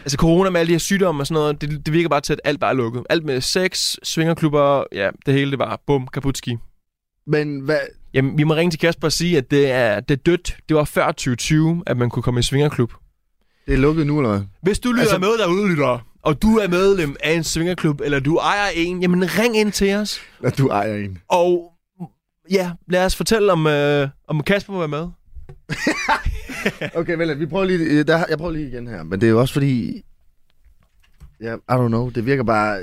Speaker 4: Altså corona med alle de her sygdomme og sådan noget, det, det virker bare til, at alt bare er lukket. Alt med sex, svingerklubber, ja, det hele det bare bum, kaputski.
Speaker 3: Men hvad...
Speaker 4: Jamen, vi må ringe til Kasper og sige, at det er, det er dødt. Det var før 2020, at man kunne komme i svingerklub.
Speaker 3: Det er lukket nu, eller hvad?
Speaker 4: Hvis du lytter altså,
Speaker 3: Altså-
Speaker 4: med derude, lytter, og du er medlem af en svingerklub, eller du ejer en, jamen ring ind til os.
Speaker 3: Når du ejer en.
Speaker 4: Og ja, lad os fortælle, om, øh, om Kasper må være med.
Speaker 3: Okay, vel, vi prøver lige, øh, der, jeg prøver lige igen her. Men det er jo også fordi... Ja, I don't know. Det virker bare...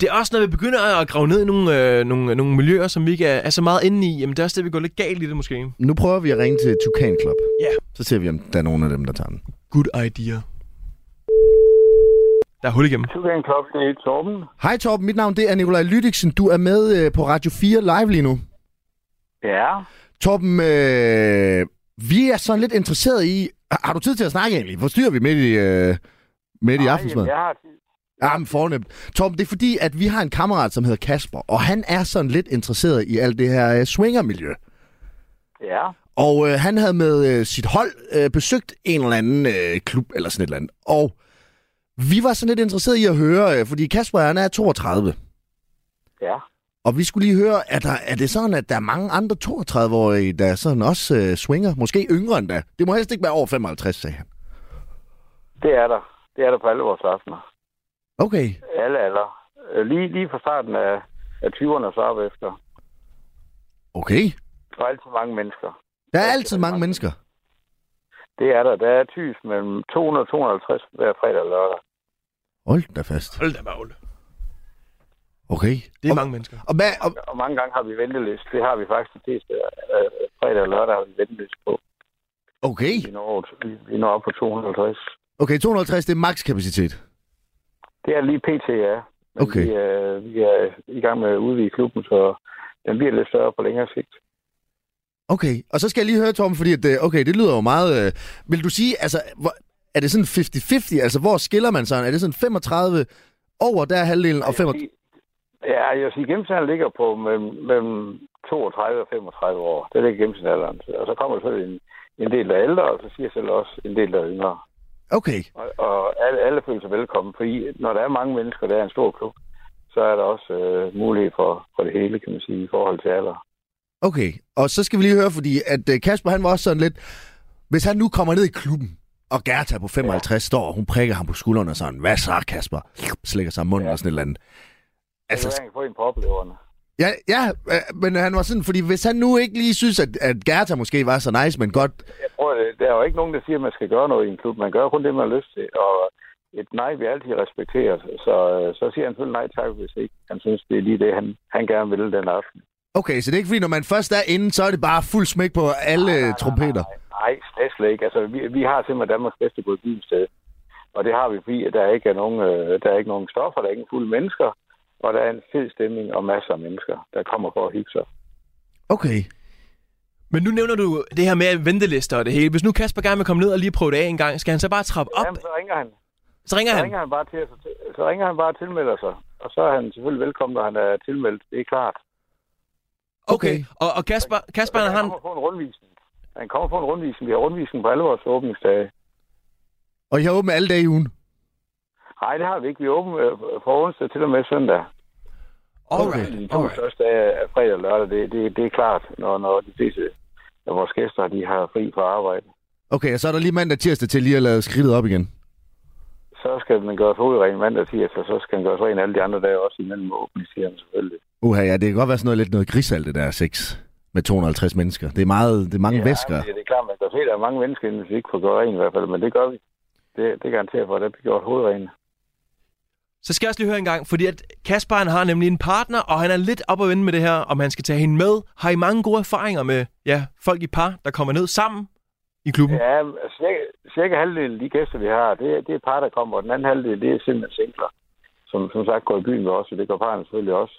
Speaker 4: Det er også, når vi begynder at grave ned i nogle, øh, nogle, nogle miljøer, som vi ikke er, er så meget inde i, jamen det er også det, vi går lidt galt i det måske.
Speaker 3: Nu prøver vi at ringe til Tukan Club.
Speaker 4: Ja.
Speaker 3: Så ser vi, om der er nogen af dem, der tager den.
Speaker 4: Good idea. Der er hul igennem.
Speaker 5: Tugan Club, det er Torben.
Speaker 3: Hej Torben, mit navn det er Nikolaj Lydiksen. Du er med øh, på Radio 4 live lige nu.
Speaker 5: Ja.
Speaker 3: Torben, øh, vi er sådan lidt interesseret i... Har har du tid til at snakke egentlig? Forstyrrer vi midt i, øh, midt i aftensmad?
Speaker 8: jeg har tid.
Speaker 3: Jamen, fornemt. Torben, det er fordi, at vi har en kammerat, som hedder Kasper, og han er sådan lidt interesseret i alt det her øh, swingermiljø.
Speaker 8: Ja.
Speaker 3: Og øh, han havde med øh, sit hold øh, besøgt en eller anden øh, klub eller sådan et eller andet. Og vi var sådan lidt interesseret i at høre, øh, fordi Kasper han er 32.
Speaker 8: Ja.
Speaker 3: Og vi skulle lige høre, er, der, er det sådan, at der er mange andre 32-årige, der sådan også øh, swinger? Måske yngre endda. Det må helst ikke være over 55, sagde han.
Speaker 8: Det er der. Det er der på alle vores aftener.
Speaker 3: Okay.
Speaker 8: Alle alder. Øh, Lige, lige fra starten af, af 20'erne og så op efter.
Speaker 3: Okay.
Speaker 8: Der er altid mange mennesker.
Speaker 3: Der er altid mange mennesker.
Speaker 8: Det er der. Der er tys mellem 200 og 250 hver fredag og lørdag.
Speaker 3: Hold da fast.
Speaker 4: Hold da bagle.
Speaker 3: Okay.
Speaker 4: Det er
Speaker 3: og,
Speaker 4: mange mennesker.
Speaker 3: Og, hvad, og,
Speaker 8: Og mange gange har vi venteliste. Det har vi faktisk de fleste. Øh, fredag og lørdag har vi venteliste på.
Speaker 3: okay.
Speaker 8: Vi når, over- vi- vi når op på 250.
Speaker 3: Okay, 250, det er makskapacitet.
Speaker 8: Det er lige pt, ja. Men
Speaker 3: Okay.
Speaker 8: Vi, er, vi er i gang med at udvide klubben, så den bliver lidt større på længere sigt.
Speaker 3: Okay, og så skal jeg lige høre, Tom, fordi at, øh, okay, det lyder jo meget... Øh, vil du sige, altså, hvor, er det sådan 50-50? Altså, hvor skiller man sig? Er det sådan 35 over der er halvdelen og 35?
Speaker 8: Ja, jeg vil sige, gennemsnittet ligger på mellem, mellem 32 og 35 år. Det er det gennemsnitsalderen. Og så kommer der selvfølgelig en, en del der er ældre, og så siger jeg selv også en del der er yngre.
Speaker 3: Okay,
Speaker 8: Og, og alle, alle føler sig velkommen, fordi når der er mange mennesker, der er en stor klub, så er der også øh, mulighed for, for det hele, kan man sige, i forhold til alder.
Speaker 3: okay. Og så skal vi lige høre, fordi at øh, Kasper, han var også sådan lidt... Hvis han nu kommer ned i klubben, og Gerta på 55 ja. står, og hun prikker ham på skulderen og sådan, hvad så, Kasper? Slikker sig om munden ja. og sådan et eller andet.
Speaker 8: Altså,
Speaker 3: Altså,
Speaker 8: det kan få en på opleverne.
Speaker 3: Ja, ja, øh, men han var sådan, fordi hvis han nu ikke lige synes, at, at Gerta måske var så nice, men godt...
Speaker 8: Jeg tror, det, der er jo ikke nogen, der siger, at man skal gøre noget i en klub. Man gør kun det, man har lyst til, og et nej vil altid respekteres. Så, øh, så siger han selvfølgelig nej tak, hvis ikke han synes, det er lige det, han, han gerne vil den aften.
Speaker 3: Okay, så det er ikke fordi, når man først er inde, så er det bare fuld smæk på alle nej, trompeter.
Speaker 8: Nej, nej, slet, slet ikke. Altså, vi, vi har simpelthen Danmarks bedste sted. Og det har vi, fordi at der ikke er nogen, øh, der er ikke nogen stoffer, der er ikke fulde mennesker, og der er en fed stemning og masser af mennesker, der kommer for at hygge sig.
Speaker 3: Okay.
Speaker 4: Men nu nævner du det her med ventelister og det hele. Hvis nu Kasper gerne vil komme ned og lige prøve det af en gang, skal han så bare trappe op?
Speaker 8: Jamen, så ringer han.
Speaker 4: Så ringer
Speaker 8: Så
Speaker 4: han.
Speaker 8: ringer han bare til, at- så ringer han bare og tilmelder sig. Og så er han selvfølgelig velkommen, når han er tilmeldt. Det er klart.
Speaker 4: Okay. Og, og Kasper, Kasper han har
Speaker 8: han
Speaker 4: en...
Speaker 8: kommer på en rundvisning. Han kommer på en rundvisning. Vi har rundvisning på alle vores åbningsdage.
Speaker 3: Og I har åbent alle dage i ugen?
Speaker 8: Nej, det har vi ikke. Vi er åbne øh, fra onsdag til og med søndag.
Speaker 4: Alright,
Speaker 8: De to
Speaker 4: alright.
Speaker 8: første dage er fredag og lørdag. Det, det, det er klart, når, når de fleste af vores gæster de har fri fra arbejde.
Speaker 3: Okay, og så er der lige mandag og tirsdag til lige at lade skridtet op igen.
Speaker 8: Så skal man gøre hovedet ren mandag og tirsdag, så skal man gøre ren alle de andre dage også imellem åbningstiderne selvfølgelig.
Speaker 3: Uha, ja, det kan godt være sådan noget, lidt noget grisalt, det der sex med 250 mennesker. Det er, meget, det er mange ja, væsker.
Speaker 8: Ja, det, det er klart, man kan se, at der er mange mennesker, inden vi ikke får gjort ren i hvert fald, men det gør vi. Det, det garanterer for, at der bliver gjort hovedrene.
Speaker 4: Så skal jeg også lige høre en gang, fordi at Kasper han har nemlig en partner, og han er lidt op at vende med det her, om han skal tage hende med. Har I mange gode erfaringer med ja, folk i par, der kommer ned sammen i klubben? Ja.
Speaker 8: Ja, cirka, cirka halvdelen af de gæster, vi har, det, det er par, der kommer, og den anden halvdel, det er simpelthen singler, som som sagt går i byen med os, og det gør parerne selvfølgelig også.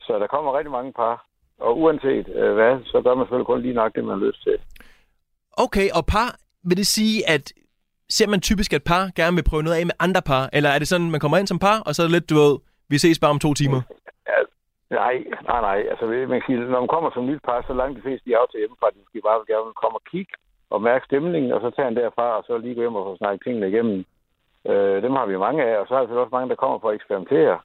Speaker 8: Så der kommer rigtig mange par, og uanset øh, hvad, så gør man selvfølgelig kun lige nok det, man har lyst til.
Speaker 4: Okay, og par, vil det sige, at ser man typisk, at par gerne vil prøve noget af med andre par? Eller er det sådan, man kommer ind som par, og så er det lidt, du ved, vi ses bare om to timer?
Speaker 8: Nej, nej, nej. Altså, ved- man kan sige, når man kommer som nyt par, så langt de fleste de er af til hjemmefra, de skal bare gerne vil komme og kigge og mærke stemningen, og så tager han derfra, og så lige gå hjem og få snakket tingene igennem. Øh, dem har vi mange af, og så har vi selvfølgelig også mange, der kommer for at eksperimentere.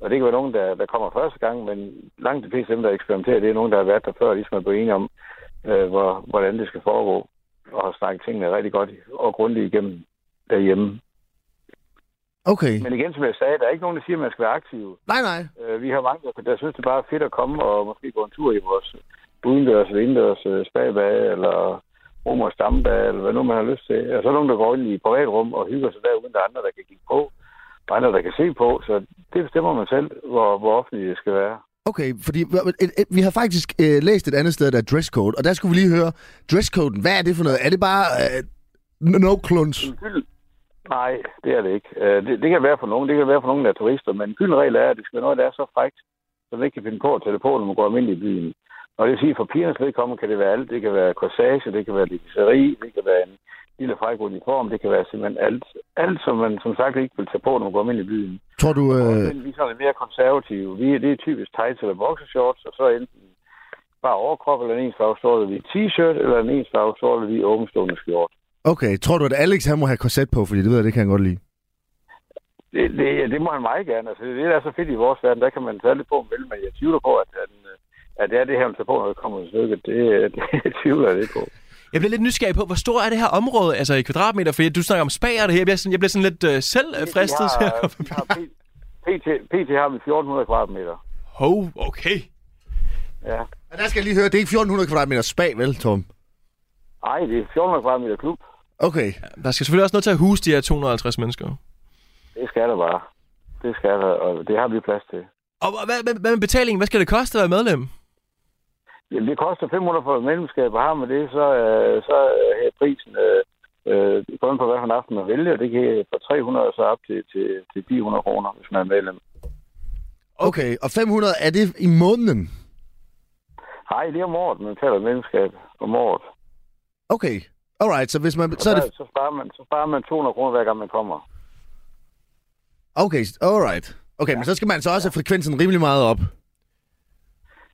Speaker 8: Og det kan være nogen, der, der kommer første gang, men langt de fleste af dem, der eksperimenterer, det er nogen, der har været der før, ligesom er blevet enige om, øh, hvor, hvordan det skal foregå, og har snakket tingene rigtig godt og grundigt igennem derhjemme.
Speaker 3: Okay.
Speaker 8: Men igen, som jeg sagde, der er ikke nogen, der siger, at man skal være aktiv.
Speaker 3: Nej, nej.
Speaker 8: Øh, Vi har mange, der- der synes, det bare er fedt at komme og måske gå en tur i vores udendørs eller indendørs øh, spadebage, eller rum og stammebage, eller hvad nu man har lyst til. Og så er der nogen, der går ind i privatrum og hygger sig der, uden der er andre, der kan kigge på, og andre, der kan se på. Så det bestemmer man selv, hvor, hvor offentligt det skal være.
Speaker 3: Okay, fordi et, et, vi har faktisk øh, læst et andet sted, der er dresscode, og der skulle vi lige høre, dresscoden, hvad er det for noget? Er det bare øh, no kluns?
Speaker 8: En gyld- Nej, det er det ikke. Øh, Det, det kan være for nogen, det kan være for nogen, der er turister, men en gylden regel er, at det skal være noget, der er så frækt, så man ikke kan finde på at tage det på, når man går almindeligt i byen. Og det vil sige, at for pigernes vedkommende kan det være alt. Det kan være corsage, det kan være lisseri, det kan være en lille fræk uniform, det kan være simpelthen alt. Alt, som man som sagt ikke vil tage på, når man går ind i byen.
Speaker 3: Tror du...
Speaker 8: Øh.
Speaker 3: Øh,
Speaker 8: Men vi er sådan lidt mere konservative. Vi, det er typisk tights eller boxershorts, og så enten bare overkrop, eller en ensfarvesortet hvid t-shirt, eller en ensfarvesortet hvid åbenstående skjort.
Speaker 3: okay, tror du, at Alex han må have korset på? Fordi det ved jeg, det kan han godt lide.
Speaker 8: Det, det, det må han meget gerne. Altså, det er det, der er så fedt i vores verden. Der kan man tage lidt på, om vil, men jeg tvivler på, at, at, at det er det her, man tager på, når det kommer til stykket. Det, øh, det tvivler jeg lidt på.
Speaker 4: Jeg bliver lidt nysgerrig på, hvor stor er det her område, altså i kvadratmeter, for du snakker om spager det her. Jeg bliver sådan, jeg bliver sådan lidt øh, selv øh, fristet.
Speaker 8: Vi har, vi har P- PT, PT har vi 1400 kvadratmeter.
Speaker 4: Hov, okay.
Speaker 8: Ja.
Speaker 3: Men der skal jeg lige høre, det er ikke 1400 kvadratmeter spag, vel, Tom?
Speaker 8: Ej, det er 1400 kvadratmeter klub.
Speaker 3: Okay.
Speaker 4: Der skal selvfølgelig også noget til at huse de her 250 mennesker.
Speaker 8: Det skal der bare. Det skal der, og det har vi plads til.
Speaker 4: Og og hvad, hvad, hvad med betalingen? Hvad skal det koste at være medlem?
Speaker 8: Jamen, det koster 500 for et medlemskab, og har man det, så, øh, så er prisen øh, øh, kun på, hvad for en aften man vælger. Det kan fra 300 og så op til, til, til 400 kroner, hvis man er medlem.
Speaker 3: Okay, og 500, er det i måneden?
Speaker 8: Nej, det er om året, man taler medlemskab om året.
Speaker 3: Okay. Alright, så hvis man... Så er
Speaker 8: Så,
Speaker 3: det...
Speaker 8: så, sparer man, så sparer man 200 kroner, hver gang man kommer.
Speaker 3: Okay, alright. Okay, men så skal man så også have frekvensen rimelig meget op.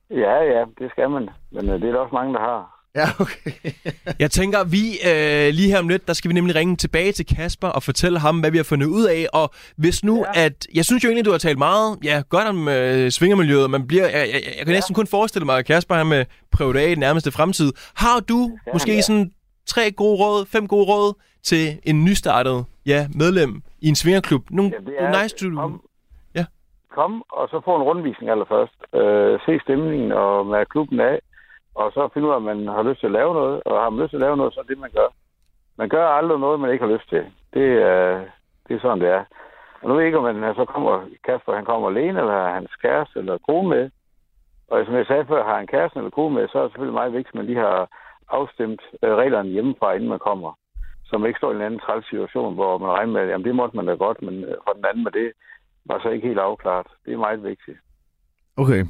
Speaker 8: Ja, ja, det skal man. Men øh, det er der også mange, der har.
Speaker 3: Ja, okay.
Speaker 4: Jeg tænker, vi øh, lige her om lidt, der skal vi nemlig ringe tilbage til Kasper og fortælle ham, hvad vi har fundet ud af. Og hvis nu, ja. at... Jeg synes jo egentlig, du har talt meget ja, godt om øh, svingermiljøet. Man bliver, jeg, jeg, jeg kan næsten kun forestille mig, at Kasper han med prøvet af i den nærmeste fremtid. Har du ja, måske ja.
Speaker 8: ja.
Speaker 4: sådan tre gode råd, fem gode råd til en nystartet ja, medlem i en svingerklub? Nogle,
Speaker 8: Ja, det
Speaker 4: ja,
Speaker 8: er-
Speaker 4: nice to...
Speaker 8: kom.
Speaker 4: Ja.
Speaker 8: Kom, og så få en rundvisning allerførst. Øh, se stemningen og mærke klubben af. Og så finde ud af, om man har lyst til at lave noget. Og har man lyst til at lave noget, så er det, man gør. Man gør aldrig noget, man ikke har lyst til. Det, øh, det er sådan, det er. Og nu ved jeg ikke, om han så kommer, Kasper, han kommer alene, eller har hans kæreste eller kone med. Og som jeg sagde før, har han kæresten eller kone med, så er det selvfølgelig meget vigtigt, at man lige har afstemt øh, reglerne hjemmefra, inden man kommer så man ikke står i en anden træls situation, hvor man regner med, at jamen, det måtte man da godt, men øh, for den anden med det var så ikke helt afklaret. Det er meget vigtigt.
Speaker 3: Okay.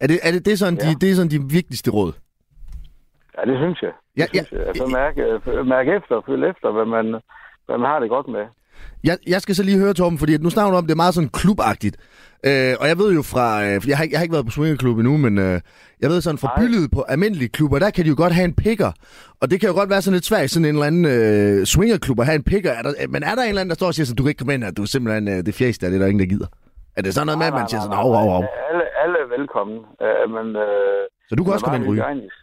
Speaker 3: Er det, er det, det, er sådan, ja.
Speaker 8: Ja.
Speaker 3: de, det er sådan de vigtigste råd?
Speaker 8: Ja, det synes jeg. Det
Speaker 3: Ja,
Speaker 8: synes
Speaker 3: ja.
Speaker 8: jeg. Altså, mærke, øh, mærke efter og følge efter, hvad man, hvad man har det godt med.
Speaker 3: Jeg, jeg skal så lige høre, Torben, fordi at nu snakker du om, det er meget sådan klubagtigt. Øh, og jeg ved jo fra... Øh, for jeg, har, ikke- jeg har ikke været på swingerklub endnu, men øh, jeg ved sådan fra
Speaker 8: Nej.
Speaker 3: bylivet på almindelige klubber, der kan de jo godt have en picker. Og det kan jo godt være sådan lidt svært, i sådan en eller anden øh, swingerklub at have en picker. Er der, øh, men er der en eller anden, der står og siger sådan, du kan ikke komme ind her, du er simpelthen øh, det fjeste af det, er der ingen, der gider? Er det sådan noget med, at man siger sådan, hov, hov, hov.
Speaker 8: Alle, alle er velkommen. Øh, men, øh,
Speaker 3: Så du kan
Speaker 8: man
Speaker 3: også komme
Speaker 8: var
Speaker 3: ind og ryge?
Speaker 8: hygiejnisk,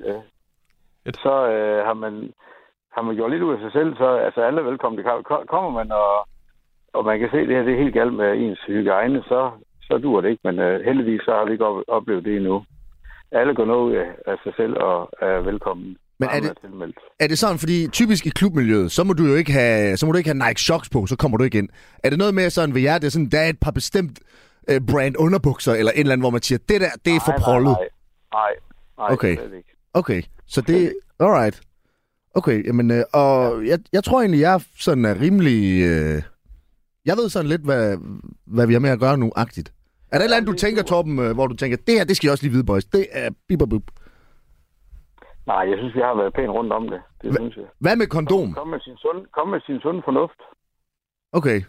Speaker 8: øh, Så øh, har man har man gjort lidt ud af sig selv, så altså alle er velkommen. Det kan- ko- Kommer man og, og man kan se, at det her det er helt galt med ens hygiejne, så, så dur det ikke. Men øh, heldigvis så har vi ikke op- oplevet det endnu. Alle går noget ud af- af sig selv og er velkommen.
Speaker 3: Men er
Speaker 8: Alle
Speaker 3: det-
Speaker 8: tilmeldt.
Speaker 3: Er det sådan, fordi typisk i klubmiljøet, så må du jo ikke have, så må du ikke have Nike Shocks på, så kommer du ikke ind. Er det noget med sådan ved jer, det er sådan, der er et par bestemt øh, brand underbukser, eller en eller anden, hvor man siger, det der, det er for
Speaker 8: Nej, nej,
Speaker 3: prollet.
Speaker 8: Nej, nej, nej
Speaker 3: Okay.
Speaker 8: slet ikke.
Speaker 3: Okay, så det, alright. Okay, jamen, øh, og jeg, jeg tror egentlig, jeg sådan er rimelig, øh, jeg ved sådan lidt, hvad, hvad vi har med at gøre nu, agtigt. Er der et eller andet, du tænker, Torben, øh, hvor du tænker, det her, det skal jeg også lige vide, boys. Det er bip og bup.
Speaker 8: Nej, jeg synes, vi har været pænt rundt om det. Det synes jeg.
Speaker 3: Hvad med kondom?
Speaker 8: Kom med sin sund, kom med sin sund fornuft.
Speaker 3: Okay.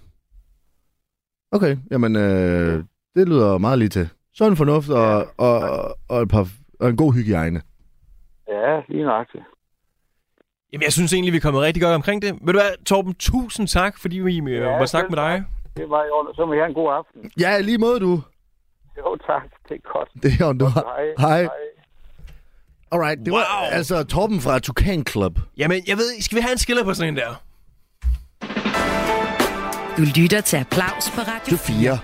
Speaker 3: Okay, jamen, øh, det lyder meget lige til. Sådan fornuft og, og, og, og, et par, og en god hygiejne.
Speaker 8: Ja, lige nøjagtigt.
Speaker 4: Jamen, jeg synes egentlig, vi er kommet rigtig godt omkring det. Ved du hvad, Torben, tusind tak, fordi vi øh,
Speaker 8: Ja,
Speaker 4: var snakke
Speaker 8: selv
Speaker 4: med dig.
Speaker 8: Det var i orden. Så må I have en god aften.
Speaker 3: Ja, i lige måde du.
Speaker 8: Jo, tak. Det er godt.
Speaker 3: Det er du har.
Speaker 8: Hej.
Speaker 3: Hej. Alright, det var
Speaker 4: Wow.
Speaker 3: altså Torben fra Tukan Club.
Speaker 4: Jamen, jeg ved, skal vi have en skiller på sådan en der?
Speaker 2: Du lytter til Applaus på Radio
Speaker 3: Det er fire.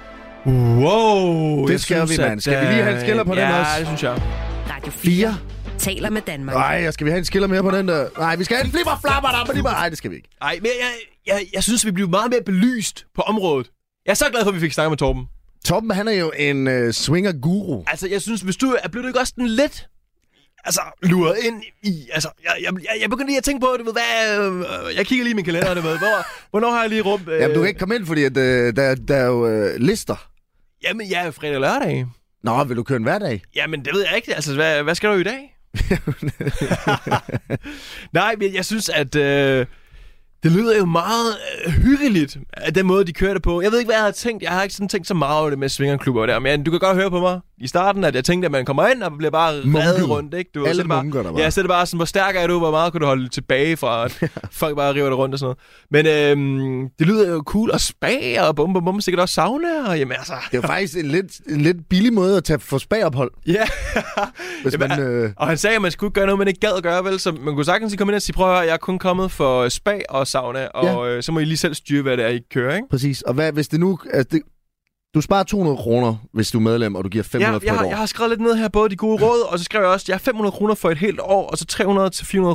Speaker 4: Wow!
Speaker 3: Det
Speaker 4: jeg
Speaker 3: skal vi, mand. Skal vi lige have en
Speaker 4: øh,
Speaker 3: skiller på den
Speaker 4: ja,
Speaker 3: også?
Speaker 4: Ja, det synes jeg.
Speaker 2: Radio 4
Speaker 3: Fire?
Speaker 2: taler med Danmark.
Speaker 3: Nej, skal vi have en skiller mere på den der? Nej, vi skal have en flipper flapper der, men Nej, det skal vi ikke.
Speaker 4: Ej, men jeg, jeg, jeg synes, vi blev meget mere belyst på området. Jeg er så glad for, at vi fik snakket med Torben.
Speaker 3: Torben, han er jo en øh, swinger-guru.
Speaker 4: Altså, jeg synes, hvis du er blevet ikke også sådan lidt altså, luret ind i... Altså, jeg, jeg, jeg, jeg begynder lige at tænke på, du ved, hvad, øh, jeg kigger lige i min kalender, du ved, hvor, hvornår har jeg lige rum? Øh,
Speaker 3: Jamen, du kan ikke komme ind, fordi at, øh, der, der er jo øh, lister.
Speaker 4: Jamen, jeg er fredag og lørdag.
Speaker 3: Nå, vil du køre en hverdag?
Speaker 4: Jamen, det ved jeg ikke. Altså, hvad, hvad skal du i dag? Nej, men jeg synes, at øh, det lyder jo meget øh, hyggeligt, af den måde, de kører det på. Jeg ved ikke, hvad jeg har tænkt. Jeg har ikke sådan tænkt så meget over det med svingerklubber og der. Men jeg, du kan godt høre på mig i starten, at jeg tænkte, at man kommer ind og bliver bare
Speaker 3: Munket.
Speaker 4: reddet rundt. Ikke? Du, ved,
Speaker 3: Alle
Speaker 4: så er det bare,
Speaker 3: munker der bare.
Speaker 4: Ja, så er det bare sådan, hvor stærk er du? Hvor meget kan du holde tilbage fra, at folk bare river dig rundt og sådan noget. Men øh, det lyder jo cool. Og spa og bum bum bum. Sikkert også sauna. Og, jamen altså...
Speaker 3: Det er jo faktisk en lidt, en lidt billig måde at tage for spagophold.
Speaker 4: Ja.
Speaker 3: Hvis
Speaker 4: Jamen,
Speaker 3: man, øh,
Speaker 4: Og han sagde, at man skulle ikke gøre noget, man ikke gad at gøre, vel? Så man kunne sagtens lige komme ind og sige, prøv at høre, jeg er kun kommet for øh, spa og sauna, og ja. øh, så må I lige selv styre, hvad det er, I kører, ikke?
Speaker 3: Præcis. Og hvad, hvis det nu... Altså det, du sparer 200 kroner, hvis du er medlem, og du giver 500
Speaker 4: Jeg,
Speaker 3: for
Speaker 4: jeg,
Speaker 3: et
Speaker 4: har,
Speaker 3: år.
Speaker 4: jeg har skrevet lidt ned her, både de gode råd, og så skrev jeg også, jeg har 500 kroner for et helt år, og så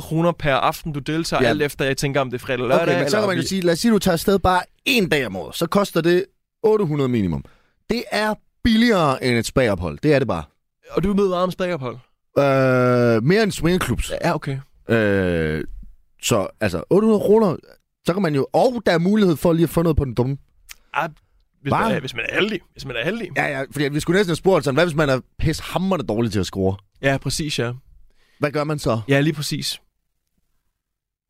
Speaker 4: 300-400 kroner per aften, du deltager,
Speaker 3: Ja.
Speaker 4: ja. alt efter, jeg tænker, om det er fredag eller lørdag.
Speaker 3: Okay, men så
Speaker 4: eller
Speaker 3: kan
Speaker 4: om
Speaker 3: man jo
Speaker 4: vi-
Speaker 3: sige, lad os sige, du tager afsted bare en dag om året, så koster det 800 minimum. Det er billigere end et spagophold, det er det bare.
Speaker 4: Og du møder varme spagophold.
Speaker 3: Øh, mere end swingerklubs.
Speaker 4: Ja, okay.
Speaker 3: Øh, så altså, 800 kroner, så kan man jo... Og der er mulighed for lige at få noget på den dumme.
Speaker 4: Ah, hvis,
Speaker 3: Varme.
Speaker 4: man er, hvis man er heldig. Hvis man er heldig.
Speaker 3: Ja, ja, fordi vi skulle næsten have spurgt sådan, hvad hvis man er pishammerende dårlig til at score?
Speaker 4: ja præcis, ja.
Speaker 3: Hvad gør man så?
Speaker 4: Ja, lige præcis.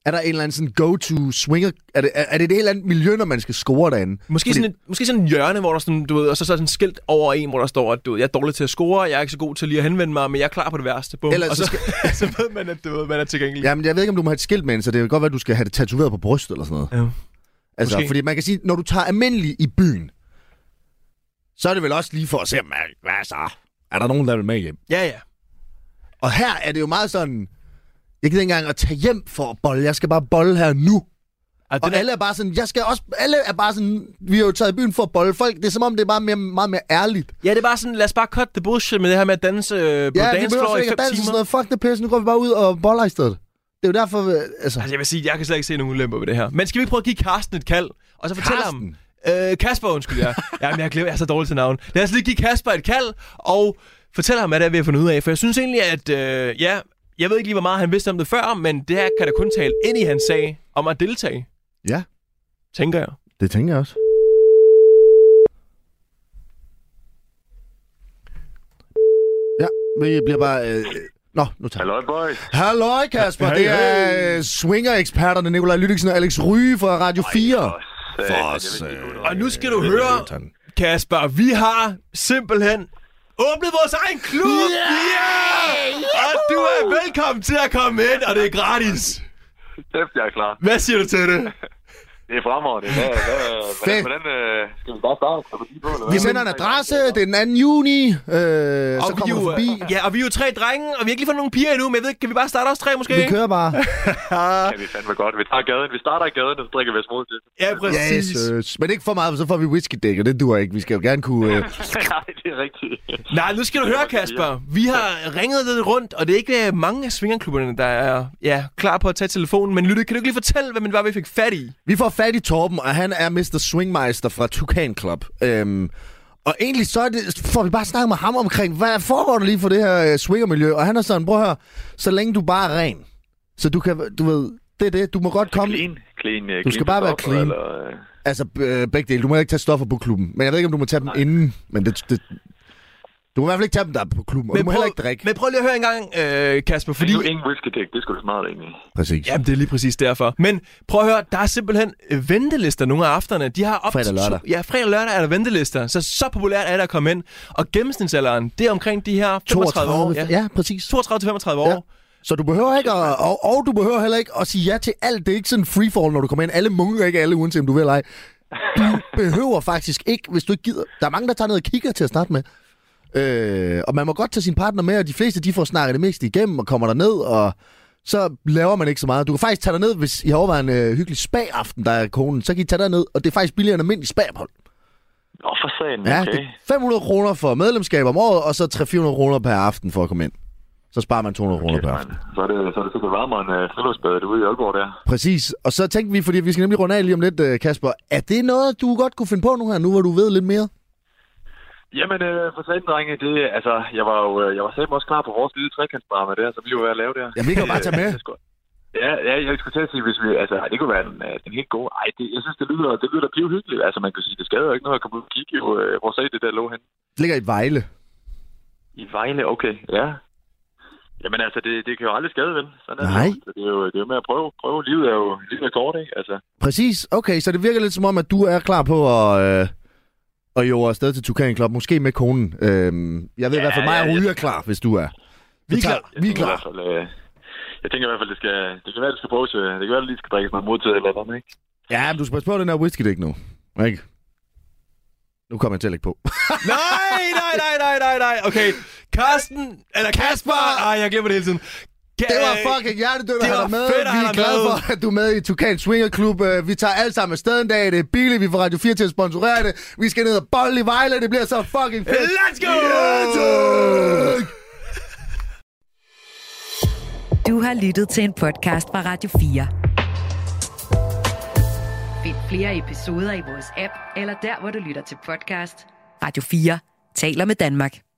Speaker 3: Er der en eller anden sådan go-to swinger? Er det, er, er det et helt andet miljø, når man skal score derinde?
Speaker 4: Måske,
Speaker 3: Fordi-
Speaker 4: sådan et, måske sådan et hjørne, hvor der sådan, du ved, og så, så er sådan et skilt over en, hvor der står, at du ved, jeg er dårlig til at score, jeg er ikke så god til lige at henvende mig, men jeg er klar på det værste. Bum.
Speaker 3: Ellers
Speaker 4: og
Speaker 3: så
Speaker 4: så, så, ved man, at du ved, man er tilgængelig.
Speaker 3: Jamen, jeg ved ikke, om du må have et skilt med ind, så det kan godt være, at du skal have det tatoveret på brystet eller sådan noget.
Speaker 4: Ja.
Speaker 3: Altså,
Speaker 4: Måske.
Speaker 3: fordi man kan sige, når du tager almindelig i byen, så er det vel også lige for at se, hvad, hvad så? Er der nogen, der vil med hjem?
Speaker 4: ja, ja.
Speaker 3: Og her er det jo meget sådan, jeg gider ikke engang at tage hjem for at bolle. Jeg skal bare bolle her nu.
Speaker 4: Og
Speaker 3: Og
Speaker 4: den er,
Speaker 3: alle er bare sådan, jeg skal også, alle er bare sådan, vi har jo taget i byen for at bolle folk. Det er som om, det er bare mere, meget mere ærligt.
Speaker 4: ja, det er bare sådan, lad os bare cut the bullshit med det her med at danse øh, på
Speaker 3: ja, vi behøver
Speaker 4: dancefloor
Speaker 3: slet
Speaker 4: i
Speaker 3: ikke
Speaker 4: fem
Speaker 3: at danse og
Speaker 4: timer.
Speaker 3: sådan noget. Fuck det pisse, nu går vi bare ud og boller i stedet. Det er jo derfor, øh, altså...
Speaker 4: Altså, jeg vil sige, jeg kan slet ikke se nogen ulemper ved det her. Men skal vi ikke prøve at give Karsten et kald, og så fortælle
Speaker 3: Carsten?
Speaker 4: ham... Øh, Kasper, undskyld, ja. Jamen, jeg, glemmer, jeg er så dårlig til navn. Lad os lige give Kasper et kald, og fortælle ham, hvad det er, vi har fundet ud af. For jeg synes egentlig, at... Øh, ja, jeg ved ikke lige, hvor meget han vidste om det før, men det her kan da kun tale ind i hans sag om at deltage,
Speaker 3: Ja,
Speaker 4: tænker jeg.
Speaker 3: det tænker jeg også. Ja, vi bliver bare... Øh... Nå, nu tager
Speaker 5: Halløj, boys.
Speaker 3: Halløj, Kasper.
Speaker 4: Hey,
Speaker 3: Det
Speaker 4: hey.
Speaker 3: er øh, swinger-eksperterne Nikolaj Lydiksen og Alex Ryge fra Radio 4.
Speaker 5: For
Speaker 3: os,
Speaker 4: Og nu skal du høre, Kasper, vi har simpelthen åbnet vores egen klub! Yeah! Og du er velkommen til at komme ind, og det er gratis.
Speaker 5: Kæft, jeg er klar.
Speaker 4: Hvad siger du til det?
Speaker 5: Det er fremragende. Hvad, hvad, hvordan,
Speaker 3: Fedt.
Speaker 5: hvordan øh, skal vi bare starte? Skal vi lige på, eller
Speaker 3: Vi
Speaker 5: hvad?
Speaker 3: sender en adresse, det er den 2. juni, øh, så
Speaker 4: vi
Speaker 3: kommer
Speaker 4: jo,
Speaker 3: du forbi.
Speaker 4: øh, Ja, og vi er jo tre drenge, og vi har ikke lige fået nogen piger endnu, men jeg ved, ikke, kan vi bare starte os tre måske?
Speaker 3: Vi kører bare.
Speaker 5: Kan vi fandme godt. Vi tager gaden. Vi starter i gaden, og så drikker vi os mod det.
Speaker 4: Ja, præcis.
Speaker 3: Yes, øh, men ikke for meget, for så får vi whiskydæk, og det duer ikke. Vi skal jo gerne kunne... Øh,
Speaker 5: Nej, det er rigtigt.
Speaker 4: Nej, nu skal du høre, Kasper. Vi har ringet lidt rundt, og det er ikke øh, mange af svingerklubberne, der er ja, klar på at tage telefonen. Men Lytte, kan du ikke lige fortælle, hvad det var, vi fik fat i?
Speaker 3: Vi får fat i Torben, og han er Mr. Swingmeister fra Tukan Club. Øhm, og egentlig så er det, får vi bare snakket med ham omkring, hvad foregår der lige for det her øh, swingermiljø? Og han er sådan, prøv at høre, så længe du bare er ren, så du kan, du ved, det er det, du må godt komme.
Speaker 5: Clean. Clean. øh,
Speaker 3: Du skal
Speaker 5: clean
Speaker 3: bare være
Speaker 5: stoffer,
Speaker 3: clean.
Speaker 5: Eller, øh,
Speaker 3: Altså øh, begge dele, du må ikke tage stoffer på klubben. Men jeg ved ikke, om du må tage dem inden, men det, det, du må i hvert fald ikke tage dem der er på klubben, og du må heller ikke drikke.
Speaker 4: Men prøv lige at høre en gang, øh, Kasper,
Speaker 5: fordi...
Speaker 4: fordi...
Speaker 5: Nu ingen whisky dick. Det skulle sgu da smart, egentlig.
Speaker 3: Præcis.
Speaker 4: Jamen, det er lige præcis derfor. Men prøv at høre, der er simpelthen øh, ventelister nogle af aftenerne. De har op
Speaker 3: Fredag
Speaker 4: til
Speaker 3: og lørdag.
Speaker 4: To, ja, fredag og lørdag er der ventelister. Så så populært er det at komme ind. Og gennemsnitsalderen, det er omkring de her 35 år.
Speaker 3: ja. ja, præcis.
Speaker 4: 32-35 år.
Speaker 3: Ja. Så du behøver ikke at, og, og du behøver heller ikke at sige ja til alt. Det er ikke sådan free fall, når du kommer ind. Alle munker ikke alle, uanset om du vil eller ej. Du behøver faktisk ikke, hvis du ikke gider. Der er mange, der tager ned og kigger til at starte med. Øh, og man må godt tage sin partner med, og de fleste de får snakket det meste igennem og kommer ned og så laver man ikke så meget. Du kan faktisk tage ned, hvis I overvejer en øh, hyggelig spa-aften, der er konen, så kan I tage ned, og det er faktisk billigere end almindelig spa -hold.
Speaker 5: Nå, for sagen.
Speaker 3: Ja,
Speaker 5: Okay.
Speaker 3: det er 500 kroner for medlemskab om året, og så 300-400 kroner per aften for at komme ind. Så sparer man 200 kroner per aften.
Speaker 5: Så er det, så er det sikkert varmere end øh, friluftsbadet ude i Aalborg der.
Speaker 3: Præcis. Og så tænkte vi, fordi vi skal nemlig runde af lige om lidt, øh, Kasper. Er det noget, du godt kunne finde på nu her, nu hvor du ved lidt mere?
Speaker 5: Jamen, øh, for satan, drenge, det, altså, jeg var jo øh, jeg var selv også klar på vores lille trekantsbar med det her, som vi var ved at lave der.
Speaker 3: Jamen, vi kan jo bare tage med.
Speaker 5: Det skulle- Øh, altså, Ja, ja, jeg skulle til at sige, hvis vi, altså, det kunne være en, øh, en helt god... Ej, det, jeg synes, det lyder, det lyder piv hyggeligt. Altså, man kan sige, det skader jo ikke noget at komme ud og kigge. Jo, øh, hvor sagde det der lå hen?
Speaker 3: Det ligger i Vejle.
Speaker 5: I Vejle, okay, ja. Jamen altså, det, det kan jo aldrig skade, vel? Sådan er
Speaker 3: Nej.
Speaker 5: Det, jo. Så det, er jo, det er jo med at prøve. prøve. Livet er jo livet er kort, ikke? Altså,
Speaker 3: Præcis. Okay, så det virker lidt som om, at du er klar på at... Øh, og jo afsted til Tukan Club, måske med konen. Øhm, jeg ved ja, i hvert fald, mig
Speaker 5: ja,
Speaker 3: og
Speaker 5: ja.
Speaker 3: Ryge er klar, hvis du er.
Speaker 4: Vi er
Speaker 3: Så tager-
Speaker 4: klar.
Speaker 5: jeg
Speaker 3: Vi er
Speaker 5: tænker i
Speaker 3: klar.
Speaker 5: hvert fald, øh, jeg tænker i hvert fald, det skal, det kan være, det skal bruges. øh, Det kan være, det lige skal drikkes noget modtaget eller noget, ikke?
Speaker 3: Ja, men du skal passe på den her whisky ikke nu. Ikke? Nu kommer jeg til at lægge på.
Speaker 4: Nej, nej, nej, nej, nej, nej. Okay, Karsten, eller Kasper. Ej, jeg glemmer det hele tiden. Ka-
Speaker 3: Det var fucking hjertedødt at
Speaker 4: Øh,
Speaker 3: have
Speaker 4: det var
Speaker 3: dig med.
Speaker 4: fedt at
Speaker 3: vi
Speaker 4: have
Speaker 3: er
Speaker 4: dig
Speaker 3: glade
Speaker 4: med.
Speaker 3: for, at du er med i Tukan Swinger Club. Øh, Vi tager alle sammen afsted en dag. Det er billigt. Vi får Radio 4 til at sponsorere det. Vi skal ned og bolle i Vejle. Det bliver så fucking fedt.
Speaker 4: Let's go!
Speaker 2: Du har lyttet til en podcast fra Radio 4. Find flere episoder i vores app, eller der, hvor du lytter til podcast. Radio 4 taler med Danmark.